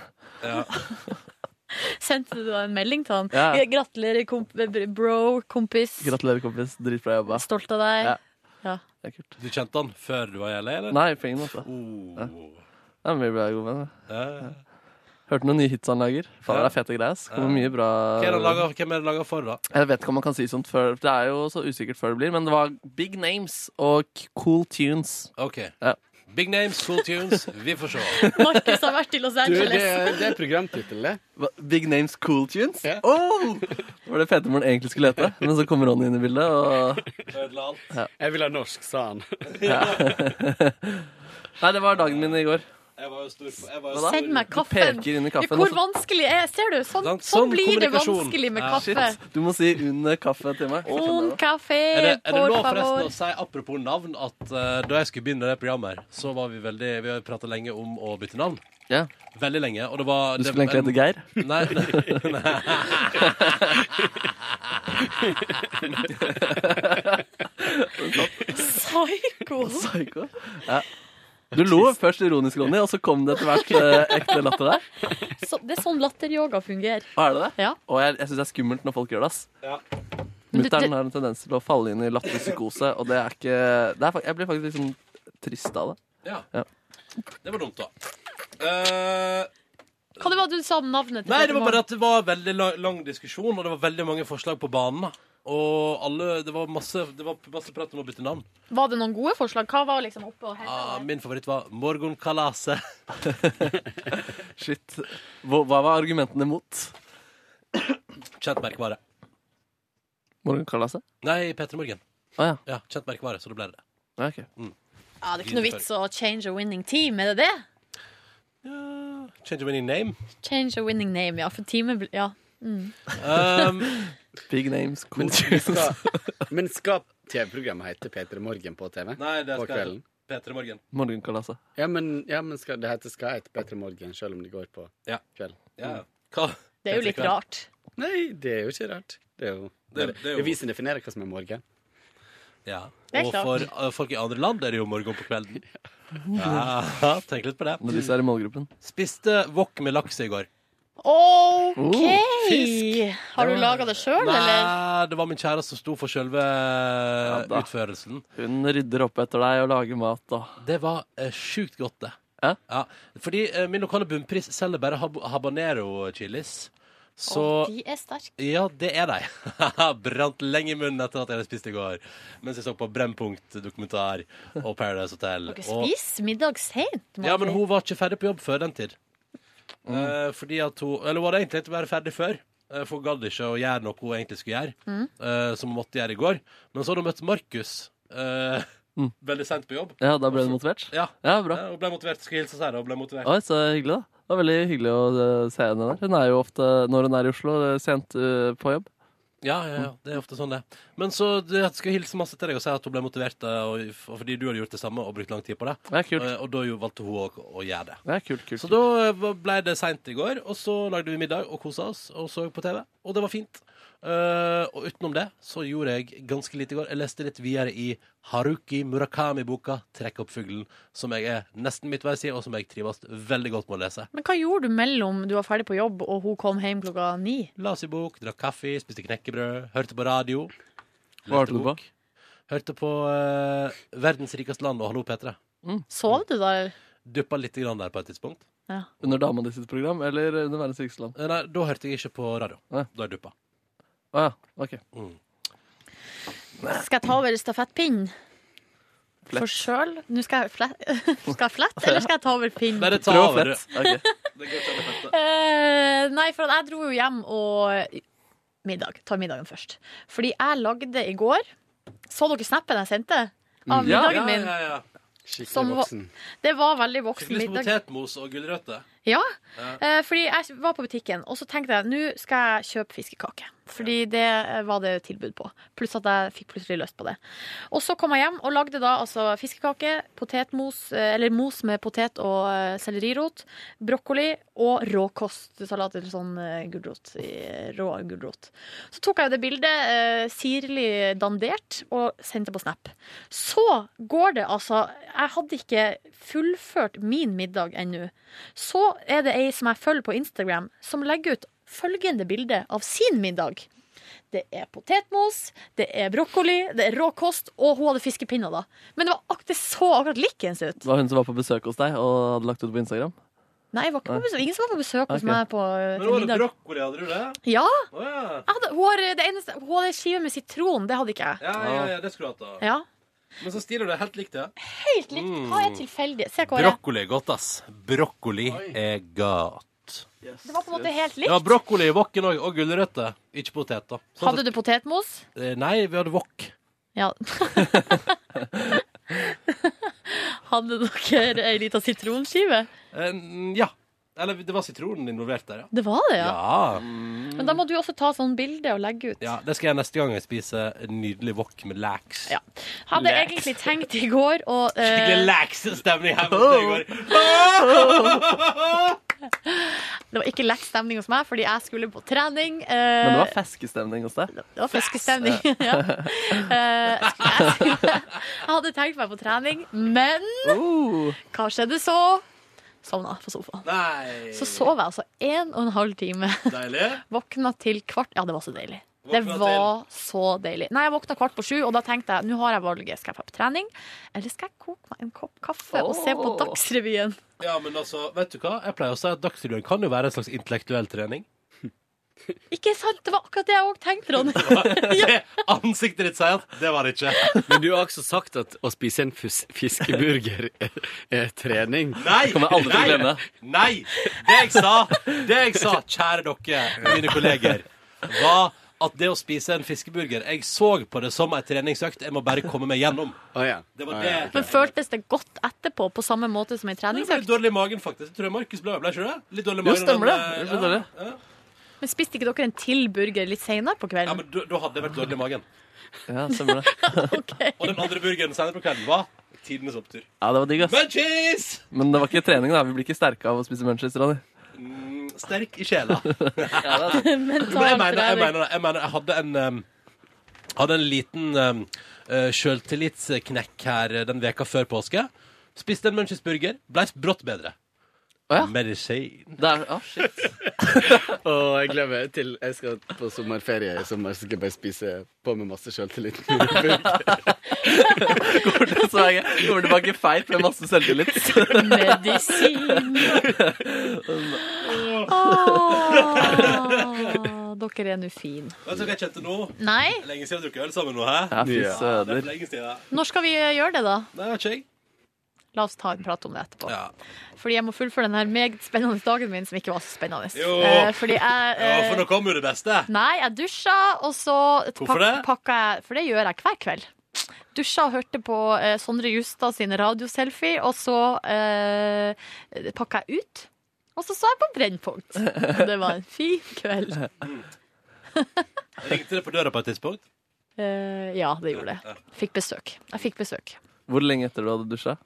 Sendte du da en melding til han?
Ja.
Gratulerer, komp bro, kompis.
Gratulerer, kompis. Dritbra jobba.
Stolt av deg.
Ja.
Ja.
Du kjente han før du var i LA, eller?
Nei, på ingen måte.
Ja.
Ja, men vi ble gode venner.
Ja.
Hørte noen nye hits han lager. Faen, det er fete greier. ass. Kommer mye bra
Hvem er det han laget- hvem er det laga for, da?
Jeg vet ikke om man kan si sånt før. Det er jo så usikkert før det blir, men det var big names og k- cool tunes.
Ok.
Ja.
Big names, cool tunes. Vi får se.
Markus har vært i Los
Du, det,
Angeles.
det er programtittel, det.
Hva- Big names, cool tunes? Oh! Det var det fetemoren egentlig skulle hete, men så kommer Ronny inn i bildet, og
Ødela alt.
ja.
Jeg vil ha norsk, sa han.
ja. Nei, det var dagen min i går.
Jeg var jo stor jeg var jo
Hva da?
Send meg
Du
kaffen.
peker inn
Ja,
i kaffen, altså.
Hvor
og så-
vanskelig er Ser du? Sånn, sånn,
Sånn
blir det
kommunikasjon.
vanskelig med
Ja.
kaffe.
Shit. Du må si under kaffe til meg. så skjønner
Un
jeg det.
kaffe,
Er det, er det
por
lov forresten
favor.
å si, apropos navn, at eh, da jeg skulle begynne det programmet, her, så var vi veldig Vi har prata lenge om å bytte navn.
Ja.
Veldig lenge. Og det var
Du skulle egentlig hete Geir.
Nei.
Psycho.
Psycho. Ja. Du lo først ironisk, Ronny, og så kom det etter hvert eh, ekte latter der.
Så, det er sånn latteryoga fungerer.
Og er det det?
Ja.
Og jeg, jeg syns det er skummelt når folk gjør det. ass.
Ja.
Men det- det-
Mutter'n har en tendens til å falle inn i latterpsykose, og det er ikke det er, fak- Jeg blir faktisk litt sånn trist av det.
Ja.
Ja.
Det var dumt, da. Eh,
Hva det var du sa om navnet til
nei, det
Peter
var bare
Morn?
at det var veldig lang, lang diskusjon, og det var veldig mange forslag på banen. da. Og alle Det var masse, det var masse prat om å bytte navn.
Var det noen gode forslag? Hva var liksom oppe og henda?
Ah, min favoritt var Morgenkalaset.
Shit. Hva, hva var argumentene mot?
Kjent merkevare.
Morgenkalaset?
Nei, Petter Morgen.
Å ja.
Ja, kjent merkevare, så det ble det.
Ja, ok.
Ja, det er ikke noe vits å change a winning team, er det det?
Change of any name.
Change a winning name, ja. For teamet blir Ja. Mm.
Big names, cool
men skal, men skal TV-programmet hete Peter Morgen på TV?
Nei, det
på
skal
kvelden?
Petter Morgen.
Morgenkalaset.
Ja, men, ja, men skal, det heter, skal hete Peter Morgen, selv om det går på
Ja.
kvelden.
Ja, ja. Mm. Hva?
Det er jo litt rart.
Nei, det er jo ikke rart. Det er jo, det,
det er jo-
er vi som definerer hva som er morgen.
Ja.
Det er
Og
klart.
for eh, folk i andre land er det jo morgen på kvelden. Ja, tenk litt på det.
Når disse er i målgruppen.
Spiste wok med laks i går.
OK!
Oh,
Har du laga det sjøl, eller?
Nei, Eh, det var min kjæreste som sto for selve
da.
utførelsen.
Hun rydder opp etter deg og lager mat og
Det var eh, sjukt godt, det.
Ja?
Fordi eh, min lokale bunnpris selger bare hab habanero-chilis. Så
Å, de er sterke.
Ja, det er de. Brant lenge i munnen etter at jeg hadde spist i går. Mens jeg så på Brennpunkt-dokumentar og Paradise Hotel.
Dere
Og-
spiser middag seint.
Ja, men hun var ikke ferdig på jobb før den tid. Eh, fordi at hun Eller hun hadde egentlig ikke vært ferdig før. eh, For hun gadd ikke å gjøre noe hun egentlig skulle gjøre,
Mm.
eh, som hun måtte gjøre i går. Men så hadde hun møtt Markus eh,
Mm.
veldig sent på jobb.
Ja, da ble du motivert?
Ja.
Ja, bra.
Eh, Hun ble motivert. Skal hilse og si det. Hun ble motivert.
Oi, så hyggelig, da. Det var veldig hyggelig å eh, se henne der. Hun er jo ofte, når hun er i Oslo, eh, sent eh, på jobb.
Ja, ja, ja, det er ofte sånn det. Men så du, jeg skal hilse masse til deg og si at hun ble motivert eh, og, og fordi du hadde gjort det samme og brukt lang tid på det.
Det er kult.
Eh, Og da jo valgte hun å, å gjøre det.
Det er kult, kult.
Så da eh, ble det seint i går, og så lagde vi middag og kosa oss og så på TV. Og det var fint. Eh, og utenom det så gjorde jeg ganske lite i går. Jeg leste litt videre i Haruki Murakami-boka 'Trekk opp fuglen', som jeg er nesten midtveis i, og som jeg trives veldig godt med å lese.
Men hva gjorde du mellom du var ferdig på jobb og hun kom hjem klokka ni?
La oss i bok, drakk kaffe, spiste knekkebrød, hørte på radio.
Hva hørte du på?
Hørte på eh, 'Verdens rikeste land' og 'Hallo, P3'.
Sov du da? eller?
Duppa litt grann der på et tidspunkt.
Ja.
Under dama di sitt program, eller under Verdens rikeste land?
Eh, Nei, da hørte jeg ikke på radio.
Nei.
Da jeg duppa.
Å ja, ok.
Mm.
Skal jeg ta over stafettpinnen?
Flett.
For sjøl? Nå skal jeg flette, skal jeg flette eller skal jeg ta over pinnen?
Bare ta
Prøv å
over.
flette. Ok.
Det går ikke an å flette.
Eh, nei, for at jeg dro jo hjem og Middag. Ta middagen først. Fordi jeg lagde i går Så dere snappen jeg sendte? Av
Ja.
middagen min.
Mm. Ja, ja, ja.
Som
Skikkelig
var-
voksen.
Det var veldig voksen
Skikkelig som
middag.
potetmos og gulrøtter.
Ja,
Ja.
eh, fordi jeg var på butikken, og så tenkte jeg nå skal jeg kjøpe fiskekake. Fordi det eh, var det tilbud på. Pluss at jeg fikk plutselig lyst på det. Og så kom jeg hjem og lagde da altså fiskekake, potetmos, eh, eller mos med potet og eh, sellerirot, brokkoli og råkostsalat, eller sånn eh, gulrot. i- Rå gulrot. Så tok jeg jo det bildet eh, sirlig dandert og sendte på Snap. Så går det altså Jeg hadde ikke fullført min middag ennå. Så er det ei som jeg følger på Instagram, som legger ut følgende bilde av sin middag. Det er potetmos, det er brokkoli, det er råkost, og hun hadde fiskepinner, da. Men det, var, ak- det så akkurat likens ut.
Det var hun som var på besøk hos deg og hadde lagt ut på Instagram?
Nei, jeg var ikke på
Nei.
besøk. ingen som var på besøk hos
Ok.
meg på eh,
Men
til
var det
middag.
Brokkoli, hadde du det?
Ja.
Å ja.
Jeg hadde, hun, har, eh, det eneste, hun hadde en skive med sitron, det hadde ikke jeg.
Ja, ja, ja, det skulle du hatt. da.
Ja.
Men så stiler du det helt likt, ja.
Helt likt. Hva er
Mm.
tilfeldig? Se hva jeg
Brokkoli er godt, ass. Brokkoli er godt.
Det var på en måte helt likt.
Ja, brokkoli i wokken òg, og gulrøtter. Ikke potet, da. Sånn
Hadde
at-
du potetmos?
Eh, Nei, vi hadde wok.
Ja. Hadde dere ei lita sitronskive?
Eh, ja. Eller det var sitronen involvert der, ja.
Det var det, ja.
Ja.
Men da må du også ta sånn bilde og legge ut.
ja. Det skal jeg neste gang jeg spiser nydelig wok med laks. Ja.
Hadde egentlig tenkt i går å eh,
Skikkelig laksestemning her borte i går.
Det var ikke leksstemning hos meg, fordi jeg skulle på trening. eh,
Men det var feskestemning hos deg?
Det var fiskestemning. ja. Eh, jeg, skulle- jeg hadde tenkt meg på trening, men
Uh.
hva skjedde så? Sovna på sofaen. Så sov jeg altså en og en halv time.
Deilig.
Våkna til kvart Ja, det var så deilig. Det
Våkna
var så deilig. Nei, Jeg våkna kvart på sju, og da tenkte jeg nå har jeg valget. Skal jeg på trening, eller skal jeg koke meg en kopp kaffe og se på
Åh.
Dagsrevyen?
Ja, men altså, vet du hva? Jeg pleier å si at Dagsrevyen kan jo være en slags intellektuell trening.
Ikke sant? Det var akkurat det jeg òg tenkte, Ronny.
Ansiktet ditt sier at det var det ikke.
Men du har også sagt at å spise en fus- fiskeburger er, er trening.
Nei!
Det kommer jeg aldri til å
nei,
glemme.
Nei! Det jeg sa, det jeg sa, kjære dere, mine kolleger, var at det å spise en fiskeburger Jeg så på det som ei treningsøkt. Jeg må bare komme meg gjennom. Det var det.
Men føltes det godt etterpå, på samme måte som en
Jeg ble litt
treningsøkt?
dårlig i magen, faktisk. Jeg tror jeg Markus ble ble ikke det? Litt dårlig i
Jo,
magen.
stemmer det.
men, eh,
Jeg ble dårlig.
Ja,
Men spiste ikke dere en til burger litt senere på
ja,
kvelden?
men da da hadde jeg vært dårlig i magen.
Ja, stemmer det.
Og den andre burgeren senere på kvelden var tidenes opptur.
Ja, det var digg, ass.
Munchies!
Men det var ikke trening, da. Vi blir ikke sterke av å spise Manchester, Ronny.
Sterk i sjela.
Mental
Men jeg mener, jeg
trening.
mener, det. jeg mener, jeg hadde en em, Hadde en liten um, sjøltillitsknekk her eh, den veka før påske. Spiste en Munchies-burger. Blei brått bedre. Medisin.
shit.
Og jeg gleder meg til jeg skal på sommerferie i sommer, så skal jeg bare spise på med masse sjøltillit.
Kommer til- så jeg kommer tilbake feit med masse selvtillit.
Medisin. Åh, dere er nå fin.
Vet du hva jeg kjente nå?
Nei?
Lenge siden jeg har drukket øl sammen nå, hæ?
Ja, fy søder.
det er lenge siden.
Når skal vi gjøre det, da?
Nei, vet ikke jeg.
La oss ta en prat om det etterpå.
Ja.
Fordi jeg må fullføre den her meget spennende dagen min, som ikke var så spennende.
Jo.
Eh, fordi jeg
ja,
eh,
for nå kom jo det beste.
Nei, jeg dusja, og så
Hvorfor
pak-
det?
pakka jeg For det gjør jeg hver kveld. Dusja og hørte på eh, Sondre Justad sin radioselfie, og så eh, pakka jeg ut. Og så så jeg på Brennpunkt. Og Det var en fin kveld.
Ringte det på døra på et tidspunkt?
Eh, ja, det gjorde det. Fikk besøk. Jeg fikk besøk.
Hvor lenge etter du hadde dusja?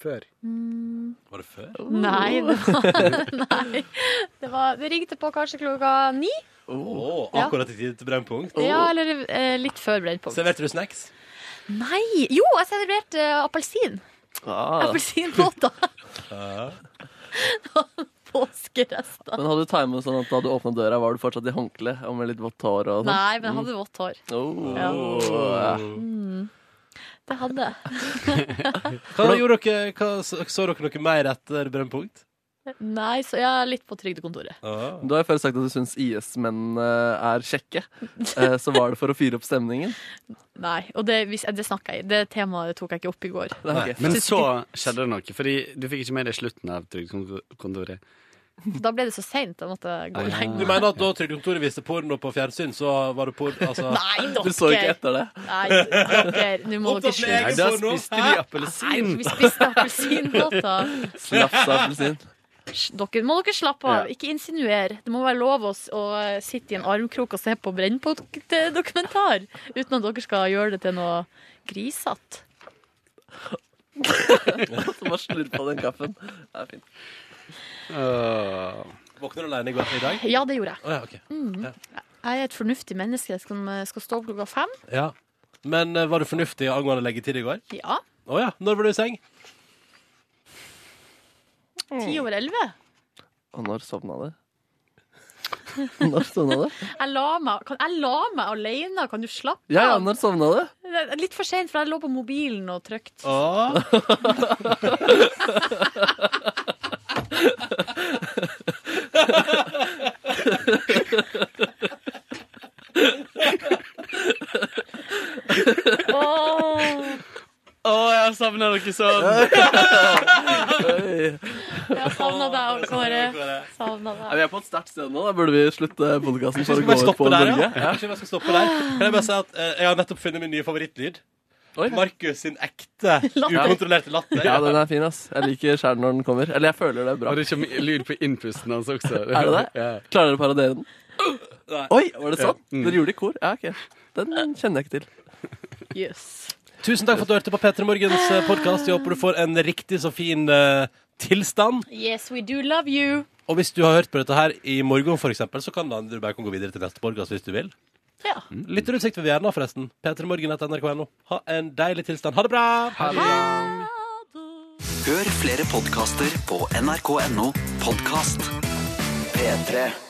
Før.
Mm,
Var det før?
nei, det var, nei. Det, var, det ringte på kanskje klokka ni.
Åh,
Ja.
akkurat i tide til Brennpunkt?
Ja, eller eh, litt før Brennpunkt.
Serverte du snacks?
Nei! Jo, jeg serverte eh, appelsin.
Ah.
Appelsinbåter. Påskerester.
Men hadde du timet sånn at da du åpna døra, var du fortsatt i håndkle og med litt vått hår? Og sånt?
Nei, men jeg hadde Mm. vått hår.
Oh.
Ja.
Hvordan
Mm. Det hadde jeg.
Hva, gjorde dere, hva, så, så dere noe mer etter Brennpunkt?
Nei, så jeg er litt på trygdekontoret.
Du har jo før sagt at du syns IS-menn eh, er kjekke. Eh, Så var det for å fyre opp stemningen?
Nei, og det, hvis- det snakka jeg i. Det temaet tok jeg ikke opp i går.
Men
Syns
så skjedde det noe, fordi du fikk ikke med deg slutten av Trygdekontoret.
ikke- Da ble det så seint. Da måtte jeg gå og legge
Du
meg.
mener at da Trygdekontoret viste porno på fjernsyn, så var det porno altså...
Nei, dere. Du så ikke etter
det?
Nei, dere, nå må dere
Opptatt med egen
slutte.
porno. Hæ?
Nei, vi spiste appelsinbåter.
Slafsa appelsin.
Sj, Dere må dere slappe av.
Ja.
Ikke insinuere. Det må være lov å, s- å sitte i en armkrok og se på Brennpunkt-dokumentar uten at dere skal gjøre det til noe grisete.
Så bare slurp på den kaffen. Det er fint.
Våkner du alene i går- i dag?
Ja, det gjorde jeg.
Å, ja, ok.
Mm.
Ja.
Jeg er et fornuftig menneske som eh, skal stå opp klokka fem.
ja. Men eh, var du fornuftig angående leggetid i går?
Ja.
Å ja. Når var du i seng?
Ti
Mm.
over elleve.
Og når sovna du? Når sovna du?
Jeg la meg, kan, jeg la meg alene. Kan du slappe
Ja, ja, når sovna du?
Det er Litt for seint, for jeg lå på mobilen og trykte.
Å, jeg savner dere sånn!
Jeg savna deg, Kåre.
Savner deg, Kåre.
Savna
Ja,
deg.
vi er på et sterkt sted nå. Da burde vi slutte podkasten for
Kanskje
å
vi
gå
skal
ut på
stoppe der, ja?
Norge. Ja.
Kanskje vi skal stoppe der? Kan jeg bare si at eh, jeg har nettopp funnet min nye favorittlyd. Markus sin ekte, ukontrollerte latter.
Ja, den er fin, ass. Jeg liker skjæren når den kommer. Eller jeg føler det er bra.
Og det kommer lyd på innpusten hans også.
Er det det? Klarer dere å parodiere den?
Nei.
Oi, var det
Ja.
sånn? Dere gjorde det i kor? Ja, ok. Den kjenner jeg ikke til.
Tusen takk for at du hørte på P3 Morgens podkast. Jeg håper du får en riktig så fin eh, tilstand.
Yes, we do love you.
Og hvis du har hørt på dette her i morgen, for eksempel, så kan da du bare kan gå videre til neste podcast hvis du vil.
Ja.
Lytterutsikt vil vi gjerne ha, forresten. p3morgen.nrk.no. Ha en deilig tilstand. Ha det bra! Ha det bra.
Hør flere podkaster på nrk.no podkast. P3.